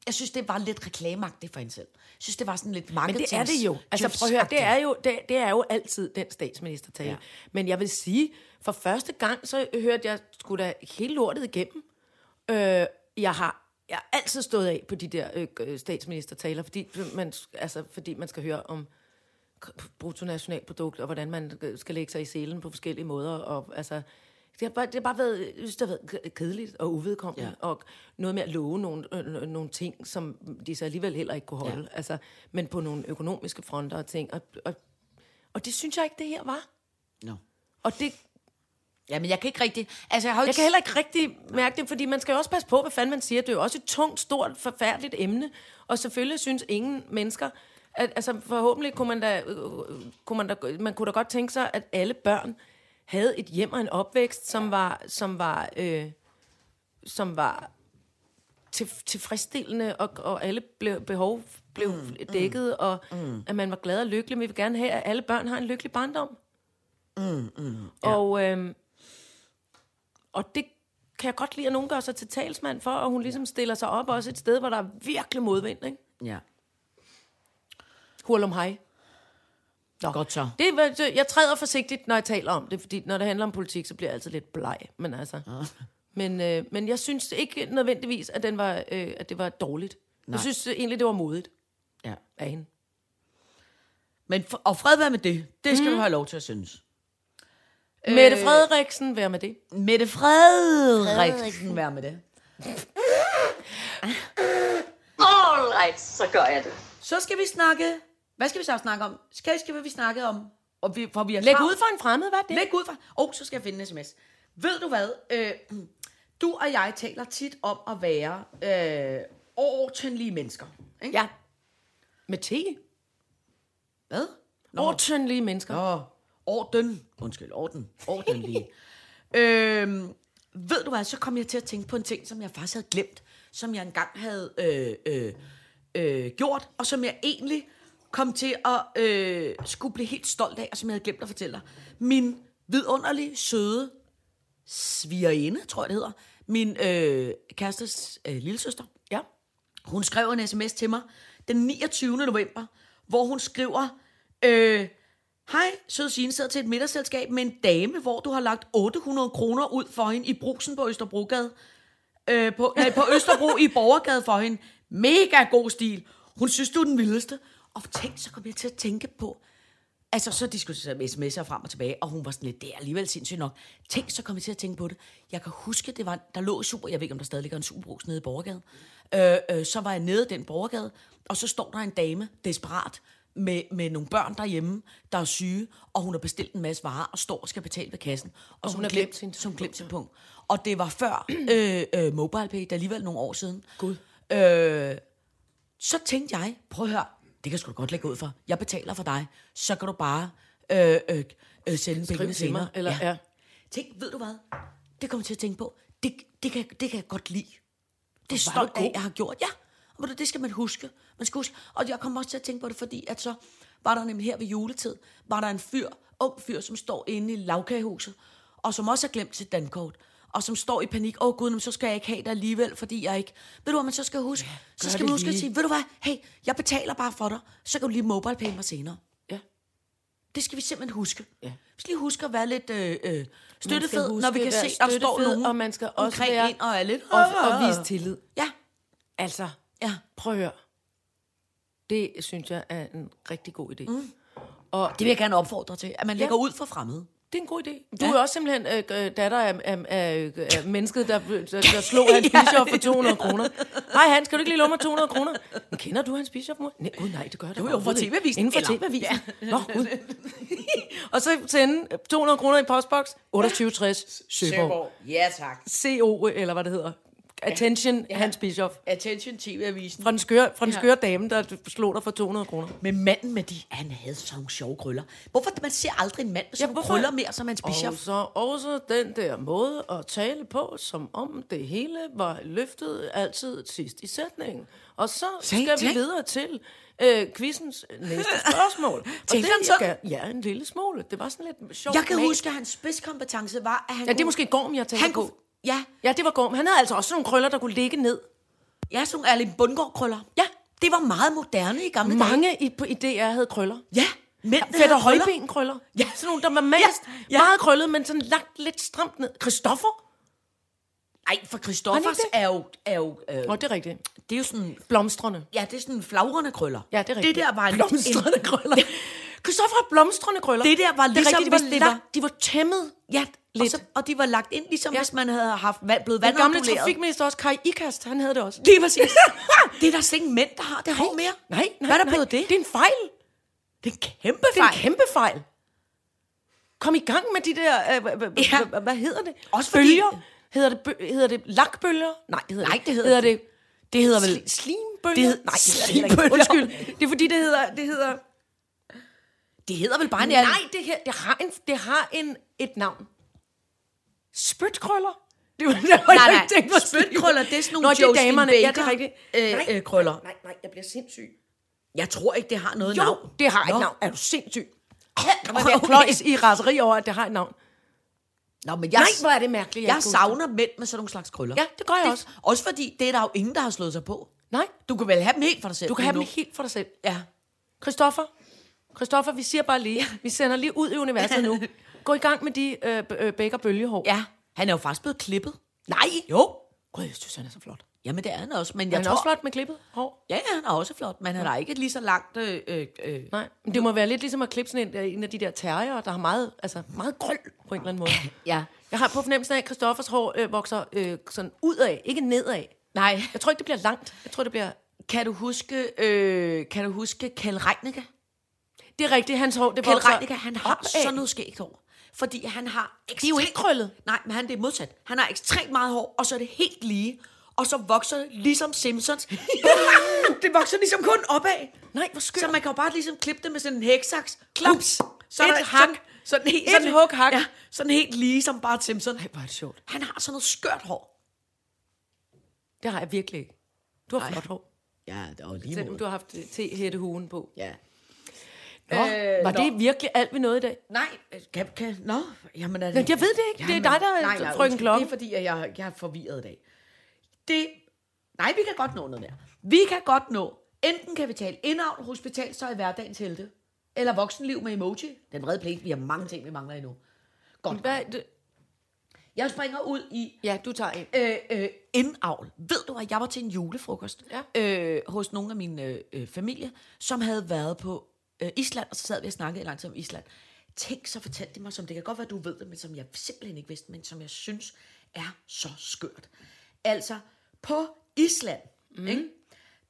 Jeg synes, det var lidt reklameagtigt for hende selv. Jeg synes, det var sådan lidt
Men
marketing.
det er det jo. Altså prøv at høre, det er jo, det, det er jo altid den statsministertale.
Ja.
Ja. Men jeg vil sige, for første gang, så hørte jeg sgu da hele lortet igennem. Øh, jeg har jeg har altid stået af på de der øh, øh, statsministertaler, fordi man, altså, fordi man skal høre om k- bruttonationalprodukt, og hvordan man øh, skal lægge sig i selen på forskellige måder. Og, altså, det har bare, det har bare været, jeg synes, det har været k- kedeligt og uvedkommende,
Ja.
ja. og noget med at love nogle, øh, øh, nogle ting, som de så alligevel heller ikke kunne holde. Ja. Altså, men på nogle økonomiske fronter og ting. Og, og, og det synes jeg ikke, det her var.
No.
Og det,
Ja, men jeg kan ikke rigtig... Altså, jeg har jo
jeg kan heller ikke rigtig mærke det, fordi man skal jo også passe på, hvad fanden man siger. Det er jo også et tungt, stort, forfærdeligt emne. Og selvfølgelig synes ingen mennesker... At, altså forhåbentlig kunne man, da, øh, øh, kunne man da... Man kunne da godt tænke sig, at alle børn havde et hjem og en opvækst, som var... Som var øh, som var til, tilfredsstillende, og, og alle blev, behov blev mm, dækket, og mm. at man var glad og lykkelig. Men vi vil gerne have, at alle børn har en lykkelig barndom. Mm, mm, ja. og, øhm, og det kan jeg godt lide, at nogen gør sig til talsmand for, og hun ligesom stiller sig op også et sted, hvor der er virkelig modvind, ikke?
Ja.
Hurlum hej. Nå.
Godt så.
Det, er, hvad- det- jeg træder forsigtigt, når jeg taler om det, fordi når det handler om politik, så bliver jeg altid lidt bleg. Men altså,
Ah.
men, øh, men jeg synes ikke nødvendigvis, at, den var, øh, at det var dårligt. Nej.
Nej.
Jeg synes øh, egentlig, det var modigt
ja.
af hende.
Men, f- og fred være med det. Det skal mm. du have lov til at synes.
Øh. Mette Frederiksen, vær med det.
Mette Frederiksen, vær med det.
Alright, så gør jeg det.
Så skal vi snakke... Hvad skal vi så snakke om? Skal, skal vi snakke om? Og vi, for vi er
Læg
klar-
ud for en fremmed, hvad er det?
Læg ud fra... Åh, oh, så skal jeg finde en sms. Ved du hvad? Øh, (clears throat) du og jeg taler tit om at være øh, ordentlige mennesker. Ikke?
Ja. Med te.
Hvad? Nå.
Ordentlige mennesker.
Nå, orden. Undskyld, orden. Ordenlige. øhm, ved du hvad, så kom jeg til at tænke på en ting, som jeg faktisk havde glemt, som jeg engang havde øh, øh, øh, gjort, og som jeg egentlig kom til at øh, skulle blive helt stolt af, og som jeg havde glemt at fortælle dig. Min vidunderlige, søde svigerinde, tror jeg det hedder, min øh, kærestes øh, lillesøster,
Ja.
hun skrev en sms til mig den 29. november, hvor hun skriver, øh, Hej, søde Signe sidder til et middagsselskab med en dame, hvor du har lagt 800 kroner ud for hende i brusen på Østerbrogade. Øh, på, nej, på Østerbro i Borgergade for hende. Mega god stil. Hun synes, du er den vildeste. Og tænk, så kom jeg til at tænke på, Altså, så diskuterede jeg sms'er frem og tilbage, og hun var sådan lidt, det er alligevel sindssygt nok. Tænk, så kom jeg til at tænke på det. Jeg kan huske, det var, der lå super, jeg ved ikke, om der stadig ligger en superbrus nede i Borgergade. Øh, øh, så var jeg nede i den Borgergade, og så står der en dame, desperat, med, med nogle børn derhjemme, der er syge, og hun har bestilt en masse varer, og står og skal betale ved kassen. Og, og så
hun
hun
har
glemt,
glemt sin
som glemt sin punkt. Og det var før øh, øh, MobilePay, der alligevel nogle år siden. Gud. Øh, så tænkte jeg, prøv at høre, det kan sgu da godt lægge ud for. Jeg betaler for dig, så kan du bare øh, øh, øh, sende
Skriv
pengene
til
senere.
mig, eller- ja.
Tænk, ved du hvad? Det kommer jeg til at tænke på. Det, det, kan, det kan jeg godt lide. Det er
Hvor var du
stolt af,
god.
jeg har gjort. Ja, og ved du, det skal man huske. Man skal huske. Og jeg kommer også til at tænke på det, fordi at så var der nemlig her ved juletid, var der en fyr, ung fyr, som står inde i lavkagehuset, og som også har glemt sit dankort, og som står i panik. Åh oh, gud, jamen, så skal jeg ikke have det alligevel, fordi jeg ikke... Ved du, hvad man så skal huske? Ja, så skal
det
man huske at
lige.
sige, ved du hvad, hey, jeg betaler bare for dig, så kan du lige mobile mig senere.
Ja.
Det skal vi simpelthen huske. Ja. Vi skal lige huske at være lidt øh, øh,
Man skal
støttefed, når vi
huske
kan
at
se,
være
der står
støttefed,
nogen
og man skal også
omkring
være-
en og er lidt...
Og, og vise tillid.
Ja,
Altså,
ja.
prøv at høre. Det synes jeg er en rigtig god idé. Mm. Og
Det vil jeg gerne opfordre til, at man lægger ud for fremmede.
Det er en god idé. Du ja. er også simpelthen øh, øh, datter af, af, af, af mennesket, der, der, der slog Hans Bischof for 200 kroner. Hej Hans, kan du ikke lige låne mig 200 kroner? Men kender du Hans Bischof, mor? Nej, oh, nej, det gør jeg da
Jo, jo,
overhovedet
fra
ikke.
TV-avisen,
Inden for
eller-
TV-avisen. Nå, Gud. (laughs) Og så sende 200 kroner i postboks. 2860 Søborg.
Ja, tak.
CO, eller hvad det hedder. Attention, Hans Bischof.
Attention TV-avisen.
Fra den skøre, fra den skøre dame, der slog dig for 200 kroner.
Men manden med de, han havde sådan nogle sjove krøller. Hvorfor man ser aldrig en mand med sådan nogle
hvorfor-
krøller mere, som hans
Og
bishop?
så også den der måde at tale på, som om det hele var løftet altid sidst i sætningen. Og så
Tænk,
skal vi
tænk.
videre til øh, quizens næste
(laughs)
spørgsmål. og
Tænkte
det
han sådan?
skal- Ja, en lille smule. Det var sådan lidt sjovt.
Jeg kan
med-
huske, at hans spidskompetence var, at han
Ja, det er måske Gorm, jeg tænker
han
på.
kunne, Ja,
Ja, det var Gorm. Han havde altså også nogle krøller, der kunne ligge ned.
ja sådan nogle Erling Bundgaard-krøller.
Ja.
Det var meget moderne i gamle dage.
Mange i, på, i DR havde krøller.
Ja, mænd, der
Fætter
havde krøller.
højben krøller.
Ja.
Sådan nogle, der var mest ja.
ja.
ja. meget krøllet, men sådan lagt lidt stramt ned. Christoffer?
Ej, for Christoffers
det?
er jo, er jo, øh,
Nå, det er rigtigt.
det er jo sådan,
Blomstrende.
ja, det er sådan flagrende krøller.
Ja, det er rigtigt.
Det der var en,
blomstrende
en,
krøller. Christoffer har blomstrende krøller.
(laughs) Det der var
det er
ligesom,
rigtigt, de var,
hvis det
lagt, de var tæmmet.
ja, lidt. Og,
Lidt.
så, og de var lagt ind, ligesom ja.
Ja.
hvis man havde haft vand, blevet
Den gamle (laughs)
vandambuleret.
trafikminister også, Kai Ikast, han havde det også.
Lige præcis. det er der slet ikke mænd, der har det hår mere.
Nej, nej,
Hvad er der
nej.
blevet det?
Det er en fejl.
Det er en kæmpe
Det er en kæmpe fejl. Kom i gang med de der... Øh, hva- hva-
Ja.
hva- Hvad hedder det?
Også fordi-
Bølger? Hedder det, bø- hedder det lakbølger? Nej, det hedder
Nej,
det.
det hedder
hedder
det.
det. Det hedder vel...
Sli- slimbølger?
Det hed, nej, det hedder det heller ikke.
Slimbølger.
Undskyld. Det er fordi, det hedder... Det hedder
Det hedder vel bare en
nej, det, her, det har, en, det har en, et navn. Spytkrøller? Det var, det var
Nej,
jeg
nej.
ikke tænkt mig at sige.
Spytkrøller, det er sådan nogle
Nå, det er
Josephine
damerne. Ja, det
Baker,
er rigtigt.
øh,
Nej,
øh, krøller.
Nej, nej, jeg bliver sindssyg.
Jeg tror ikke, det har noget
Jo,
navn.
det har
Nå.
et navn. Er du sindssyg?
Nå,
Og være
okay.
kløjs i raseri over, at det har et navn.
Nå, men jeg,
Nej, hvor er det mærkeligt, jeg
Jeg, jeg
ikke kunne huske
savner mænd med sådan nogle slags krøller.
Ja, det gør jeg også.
Også fordi, det er der jo ingen, der har slået sig på.
Nej,
Du kan vel have dem helt for dig selv.
du kan have dem
lige
helt for dig selv.
nu. Ja.
Christoffer, Christoffer, vi siger bare lige, vi sender lige ud i universet
(laughs)
nu. Gå i gang med de øh, b- øh, bæk- og bølgehår.
ja. Han er jo faktisk blevet klippet.
Nej.
Jo.
Gud, jeg synes, han er så flot.
Jamen, det er han også. Men jeg
Jeg han er
tror,
også flot med klippet hår.
Ja, ja, han er også flot, men han er ikke et lige så langt... Øh, øh, øh.
Nej, men det må være lidt ligesom at klippe sådan en, en af de der terrier, der har meget, altså meget grøn på en eller anden måde.
(laughs) Ja.
Jeg har på fornemmelsen af, at Christoffers hår øh, vokser øh, sådan udad, ikke nedad.
Nej.
Jeg tror ikke, det bliver langt. Jeg tror, det bliver...
Kan du huske, øh, kan du huske Kjell Reinicke?
Det er rigtigt, hans hår, det
Kjell
vokser
Reinicke, han har
opad.
sådan noget skægt hår. Fordi han har ekstremt...
Det er jo ikke krøllet.
Nej, men han det er modsat. Han har ekstremt meget hår, og så er det helt lige. Og så vokser det ligesom
(laughs)
Simpsons. det vokser ligesom kun opad.
Nej, hvor skørt.
Så man kan jo bare ligesom klippe det med sådan en hæksaks. Klaps. Så er
Et
der
hak.
Sådan, sådan, helt,
Et
sådan,
hug, hak.
Ja, sådan helt lige som bare Simpson.
Ej, hvor er det sjovt.
Han har sådan noget skørt hår.
Det har jeg virkelig ikke. Du har flot hår.
Ja, det var lige
Selvom du har haft te-hættehuen på.
Ja.
Nå, øh, var det virkelig alt, vi nåede i dag?
Nej, øh, kan, kan, nå, jamen er det...
Jamen, jeg ved det ikke. Det er dig, der er
nej, nej,
frøken
undskyld.
Klokke.
Det er fordi, at jeg, jeg er forvirret i dag. Det, nej, vi kan godt nå noget mere. Vi kan godt nå, enten kan vi tale indavn, hospitalstøj, hverdagens helte, eller voksenliv med emoji. Den vrede plet, vi har mange ting, vi mangler endnu. Godt.
Hvad, er det?
Jeg springer ud i
Ja, du tager en.
øh, øh, indavl. Ved du, at jeg var til en julefrokost
Ja.
øh, hos nogle af mine øh, øh, familie, som havde været på øh, Island, og så sad vi og snakkede lang tid om Island. Tænk, så fortalte de mig, som det kan godt være, du ved det, men som jeg simpelthen ikke vidste, men som jeg synes er så skørt. Altså, på Island,
Mhm.
mm. ikke,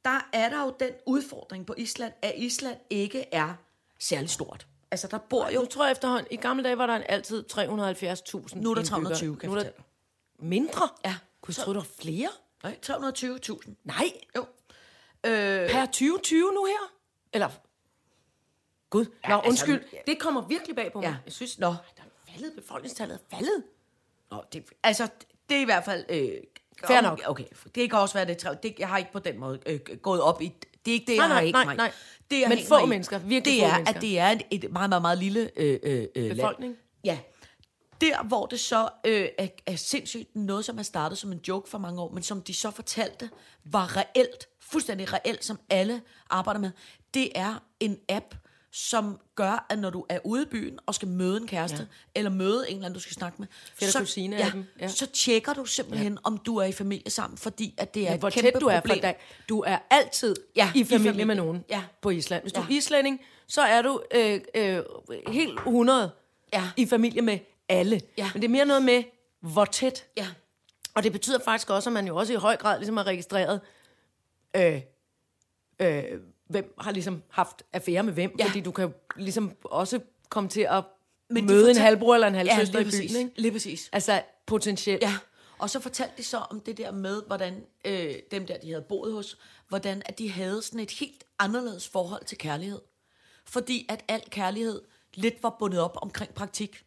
der er der jo den udfordring på Island, at Island ikke er særlig stort. Altså, der bor jo...
Nu tror jeg efterhånden, i gamle dage var der en altid 370.000
Nu er der
indbyggere.
320, kan jeg
Nu er der
fortælle
mindre?
Ja.
Kunne jeg tro, der var flere?
Nej, 320.000.
Nej.
Jo.
Per 2020 nu her? Eller... Gud, ja, nå,
altså,
undskyld.
ja.
det kommer virkelig bag på mig.
Ja.
Jeg synes,
Nå.
der er faldet. Befolkningstallet er faldet.
Nå, det, altså, det er i hvert fald... Øh,
Fair nok.
Okay, det kan også være, det, er travlt. det Jeg har ikke på den måde øh, gået op i... Det er ikke det,
Nej,
jeg har
nej,
ikke
nej,
mig.
nej.
Det, jeg
Men
hænger
få
mig i,
mennesker, virkelig
det
få
er,
mennesker.
at det er et, et meget, meget, meget lille øh, øh, øh, land.
Befolkning.
Ja. Der, hvor det så øh, er, er sindssygt noget, som er startet som en joke for mange år, men som de så fortalte, var reelt, fuldstændig reelt, som alle arbejder med, det er en app, som gør, at når du er ude i byen og skal møde en kæreste, ja. eller møde en eller anden, du skal snakke med,
Fætter kusine
ja,
af dem,
ja.
ja.
så tjekker du simpelthen, ja. om du er i familie sammen, fordi at det er
Ja,
et
hvor
kæmpe
tæt du er
problem.
fra dig. Du er altid
Ja,
ja,
i
i, familie
familie.
med nogen
Ja.
ja. på Island. Hvis ja. du
Ja.
er islænding, så er du øh, øh, helt 100
Ja.
i familie med alle.
Ja.
Men det er mere noget med, hvor tæt.
Ja.
Og det betyder faktisk også, at man jo også i høj grad ligesom har registreret, øh, øh, hvem har ligesom haft affære med hvem.
Ja.
Ja. Fordi du kan jo ligesom også komme til at
Men
Men
de
møde en
fortæl-
halvbror eller en halvsøster
lige
i byen.
præcis.
Ikke?
Lige præcis.
Altså potentielt.
Ja, og så fortalte de så om det der med, hvordan øh, dem der, de havde boet hos, hvordan at de havde sådan et helt anderledes forhold til kærlighed. Fordi at al kærlighed lidt var bundet op omkring praktik.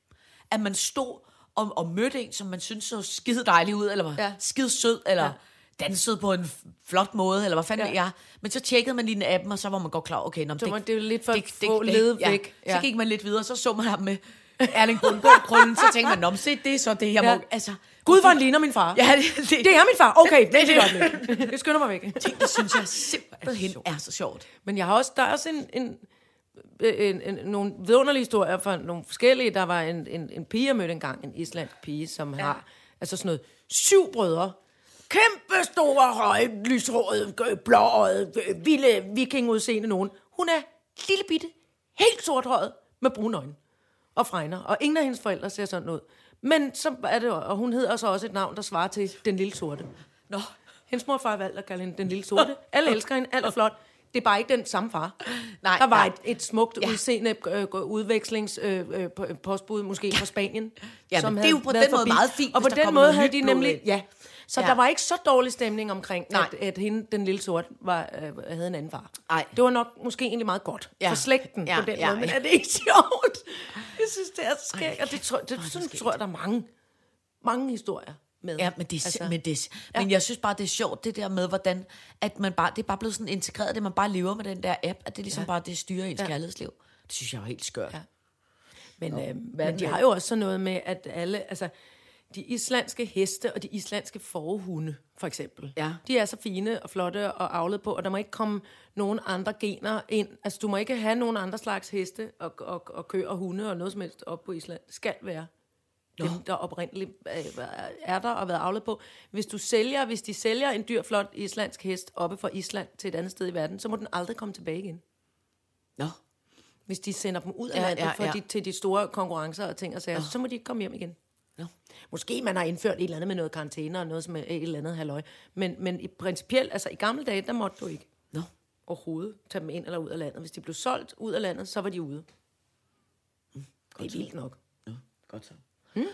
At man stod og, og mødte en, som man syntes så skide dejlig ud, eller var ja.
Ja.
skide sød, eller ja. dansede på en f- flot måde, eller hvad fanden
Ja.
ja. jeg. Men så tjekkede man lige den appen, og så var man godt klar, okay, nå, men
Så var det jo lidt for at
det-
få
det-
ledet
ja.
væk.
Ja. Så
Ja.
gik man lidt videre, så så man ham med Erling Bundgaard krøllen, så tænker man, nå, men se, det er så det, jeg ja.
Ja.
må... Altså,
Gud, hvor han ligner min far.
ja, det, det,
Det er min far. Okay, vent
(laughs) det-
et
(laughs)
øjeblik. Jeg skynder mig væk.
det, det synes jeg simpelthen er så sjovt.
Men jeg har også, der er også en, en, en, en, nogle vidunderlige historier fra nogle forskellige. Der var en, en, en pige, jeg mødte engang, en islandsk pige, som ja. har altså sådan noget syv brødre. Kæmpe store, høje, lyshårede, øh, blåøjede, øh, vilde vikingudseende nogen. Hun er lille bitte, helt sorthåret, med brune øjne og fregner. Og ingen af hendes forældre ser sådan ud. Men så er det, og hun hedder så også et navn, der svarer til Den Lille Sorte.
Nå,
Hendes mor og far valgte at kalde hende den lille sorte. Alle elsker hende, alt er flot. Det er bare ikke den samme far.
Nej,
der var
nej.
Et, et smukt ja. udseende øh, udvekslingspostbud, øh, på- postbud måske fra Spanien.
Ja, men det er
havde
jo på
været
den måde meget fint,
Og på
hvis der
den
kommer
måde
noget
havde
nyt
de
blod
nemlig...
ind.
Ja. Så
Ja.
der var ikke så dårlig stemning omkring,
Nej.
at, at hende, den lille sorte, var, øh, havde en anden far.
Nej.
Det var nok måske egentlig meget godt
Ja.
ja. for slægten
Ja,
på den
ja,
måde, men
ja.
er det ikke sjovt? Jeg synes, det er så skægt,
Ej,
og det, tror, det, sådan, tror jeg, der er mange, mange historier med.
Ja, men det er, altså, men det er, ja. men jeg synes bare, det er sjovt, det der med, hvordan at man bare, det er bare blevet sådan integreret, at man bare lever med den der app, at det ligesom ja. bare, det styrer ens ja. kærlighedsliv. Det synes jeg er helt skørt. øhm, Ja.
Men, øh, men de har jo også sådan noget med, at alle, altså, de islandske heste og de islandske forhunde, for eksempel,
Ja.
de er så fine og flotte og avlet på, og der må ikke komme nogen andre gener ind. Altså, du må ikke have nogen andre slags heste og, og, og køer og hunde og noget som helst op på Island. Det skal være dem, der oprindeligt øh, er der og har været avlet på. Hvis du sælger, hvis de sælger en dyr, flot islandsk hest oppe fra Island til et andet sted i verden, så må den aldrig komme tilbage igen
Nå.
hvis de sender dem ud af
Ja,
ja, landet
ja,
ja, for
ja.
ja. De, til de store konkurrencer og ting og sager, oh. så må de ikke komme hjem igen.
Nå.
Måske man har indført et eller andet med noget karantæne og noget som er et eller andet halløj. Men, men i principielt, altså i gamle dage, der måtte du ikke
Nå.
overhovedet tage dem ind eller ud af landet. Hvis de blev solgt ud af landet, så var de ude. Mm, det er vildt nok.
Nå, godt så. Hmm?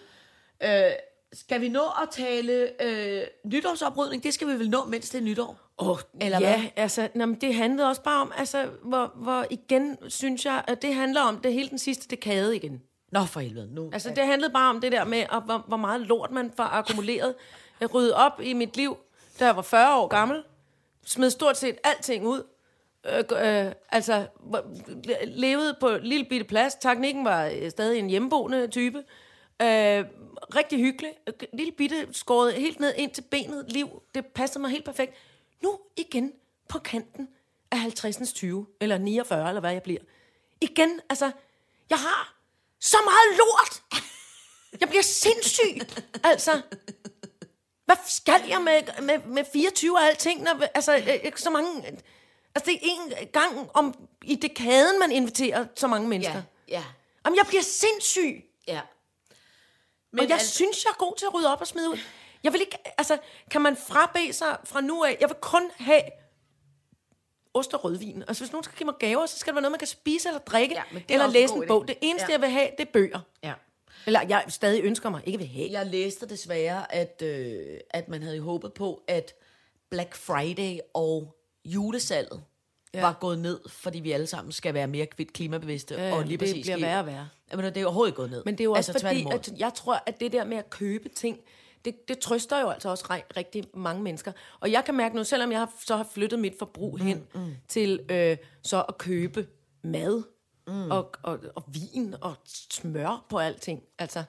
Øh, skal vi nå at tale øh, nytårsoprydning? Det skal vi vel nå, mens det er nytår.
Oh,
Eller
eller ja,
hvad?
hvad? altså, nå, men det handlede også bare om, altså, hvor, hvor igen synes jeg, at det handler om det hele den sidste dekade igen.
Nå, for helvede. Nu.
Altså, det handlede bare om det der med, og hvor, hvor meget lort man får akkumuleret. Jeg ryddede op i mit liv, da jeg var 40 år gammel. Smed stort set alting ud. Øh, g- øh, altså, hvor- levede på en lille bitte plads. Teknikken var øh, stadig en hjemmeboende type. Øh, rigtig hyggelig. Øh, Lille bitte skåret helt ned ind til benet liv. Det passede mig helt perfekt. Nu igen på kanten af 50'ens 20, eller 49, eller hvad jeg bliver. Igen, altså, jeg har så meget lort. Jeg bliver sindssyg. Altså, hvad skal jeg med, med, med 24 og alting? Når, altså, øh, øh, så mange... Altså, det er en gang om, i dekaden, man inviterer så mange mennesker.
ja,
Ja.
ja,
Jamen, jeg bliver sindssyg.
ja.
Men og jeg
al-
synes, jeg er god til at rydde op og smide ud. Jeg vil ikke, altså, kan man frabe sig fra nu af? Jeg vil kun have ost og rødvin. Altså, hvis nogen skal give mig gaver, så skal det være noget, man kan spise eller drikke,
Ja,
ja,
men det er
eller
også en
læse
god
en
idé.
bog. Det eneste,
Ja.
ja. jeg vil have, det er bøger.
ja.
Eller jeg stadig ønsker mig, ikke vil have.
Jeg læste desværre, at, øh, at man havde håbet på, at Black Friday og julesalget ja. var gået ned, fordi vi alle sammen skal være mere kvit klimabevidste.
ja,
og
men
lige
det
præcis
bliver
ikke-
værre og værre.
Jamen, det er overhovedet ikke gået ned.
Men det er jo også altså, fordi,
tværtimod.
at jeg tror, at det der med at købe ting, det, det trøster jo altså også re- rigtig mange mennesker. Og jeg kan mærke nu, selvom jeg har, så har flyttet mit forbrug mm, hen mm. til øh, så at købe mad mm. og, og, og vin og smør på alting, altså,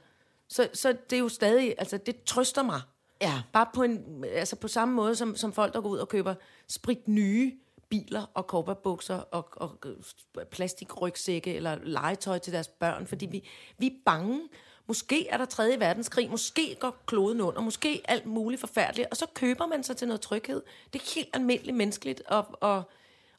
så, så det er jo stadig, altså det trøster mig.
Ja.
Bare på, en, altså på samme måde, som, som folk, der går ud og køber sprit nye biler og korperbukser og, og øh, plastikrygsække eller legetøj til deres børn, fordi vi, vi er bange. Måske er der 3. verdenskrig, måske går kloden under, måske alt muligt forfærdeligt, og så køber man sig til noget tryghed. Det er helt almindeligt menneskeligt, og, og,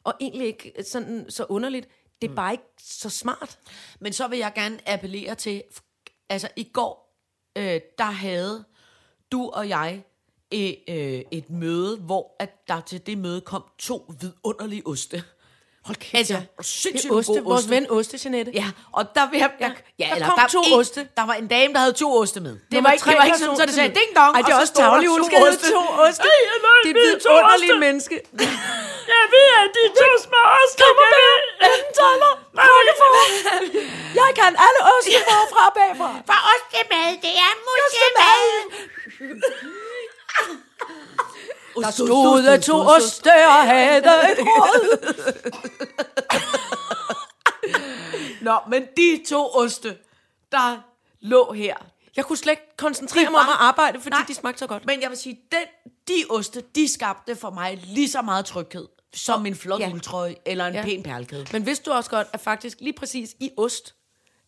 og egentlig ikke sådan så underligt. Det er bare ikke så smart.
Men så vil jeg gerne appellere til, f- altså i går, øh, der havde du og jeg et, øh, et møde, hvor at der til det møde kom to vidunderlige oste. Hold kæft, altså,
ja. Det
sindssygt
er oste,
gode
vores
oste.
ven Oste, Jeanette.
Ja, og der vil jeg... Der, ja,
der kom to
en,
oste.
Der var en dame, der havde to oste med. Det
Nummer
var ikke,
tre
det var ikke sådan,
person
så det sagde
til-
ding dong.
Ej, det er
og så
også
stod der
tavligt, hun skal hedde to oste.
Ej, jeg ved,
Det er
vi er to
vidunderlige
oste.
menneske.
Jeg ved, at de to små oste... Kom og
Toller, for. Jeg kan alle oste forfra og bagfra.
For ostemad, det er mustemad.
Der stod to oste og havde et råd.
Nå, men de to oste, der lå her.
Jeg kunne slet ikke koncentrere
De
mig om
var-
at arbejde, fordi
Nej.
de smagte så godt.
Men jeg vil sige, den, de oste, de skabte for mig lige så meget tryghed, som en flot
Ja.
ja. uldtrøje eller en
Ja.
ja. pæn perlekæde.
Men vidste du også godt, at faktisk lige præcis i ost,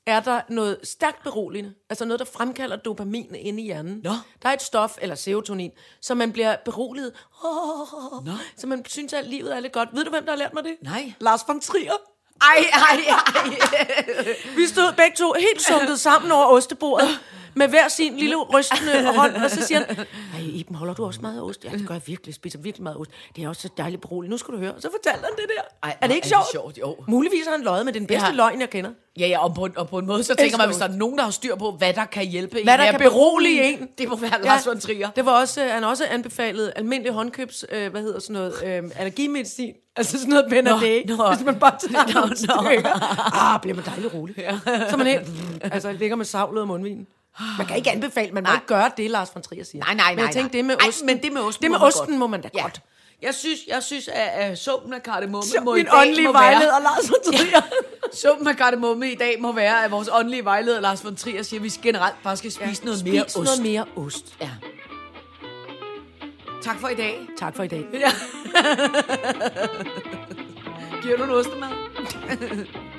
er der noget stærkt beroligende, altså noget, der fremkalder dopamin inde i hjernen.
Nå.
Der er et stof, eller serotonin, som man bliver beroliget. Oh, så man synes, at livet er lidt godt. Ved du, hvem der har lært mig det?
Nej.
Lars von Trier.
Ej, ej, ej.
Vi stod begge to helt sunket sammen over ostebordet, med hver sin lille rystende hånd, og så siger han, Ej, Iben, holder du også meget af ost? Ja, det gør jeg virkelig, jeg spiser virkelig meget ost. Det er også så dejligt beroligt, nu skal du høre. Og så fortalte han det der.
Ej,
er det
hvor
ikke
er
sjovt?
det sjovt, jo.
Muligvis har han løjet med den bedste
Ja.
løgn, jeg kender.
Ja, ja, og på, en- og på en måde, så tænker
Elsker
man, hvis
ost.
der er nogen, der har styr på, hvad der kan hjælpe
Hvad der
med at
kan berolige en.
Det må være Lars von Trier.
Det var også, øh, han har også anbefalet almindelig håndkøbs, øh, hvad hedder sådan noget, øh, allergimedicin. Altså sådan noget Benadryl,
nå.
hvis man bare tager
Nå,
nogle
nå.
stykker. Ah, bliver man dejlig rolig. Ja. Så man helt, altså ligger med savlet og mundvin. Man kan ikke anbefale, man må
Nej.
ikke gøre det, Lars von Trier siger.
Nej, nej, nej.
Men jeg tænkte,
nej.
det med
Ej,
osten.
men det med osten,
det med
må man
osten
godt.
må man da
ja.
godt.
Jeg synes, jeg synes at, at summen af kardemomme
Så
må i
Min
dag
åndelige
må være-
vejleder, Lars von Trier.
Summen af kardemomme i dag må være, at vores åndelige vejleder Lars von Trier siger, at vi generelt bare skal spise ja, noget mere
Spis
ost.
noget mere ost.
Ja. Tak for i dag.
Tak for i dag.
Giver du en ostemad?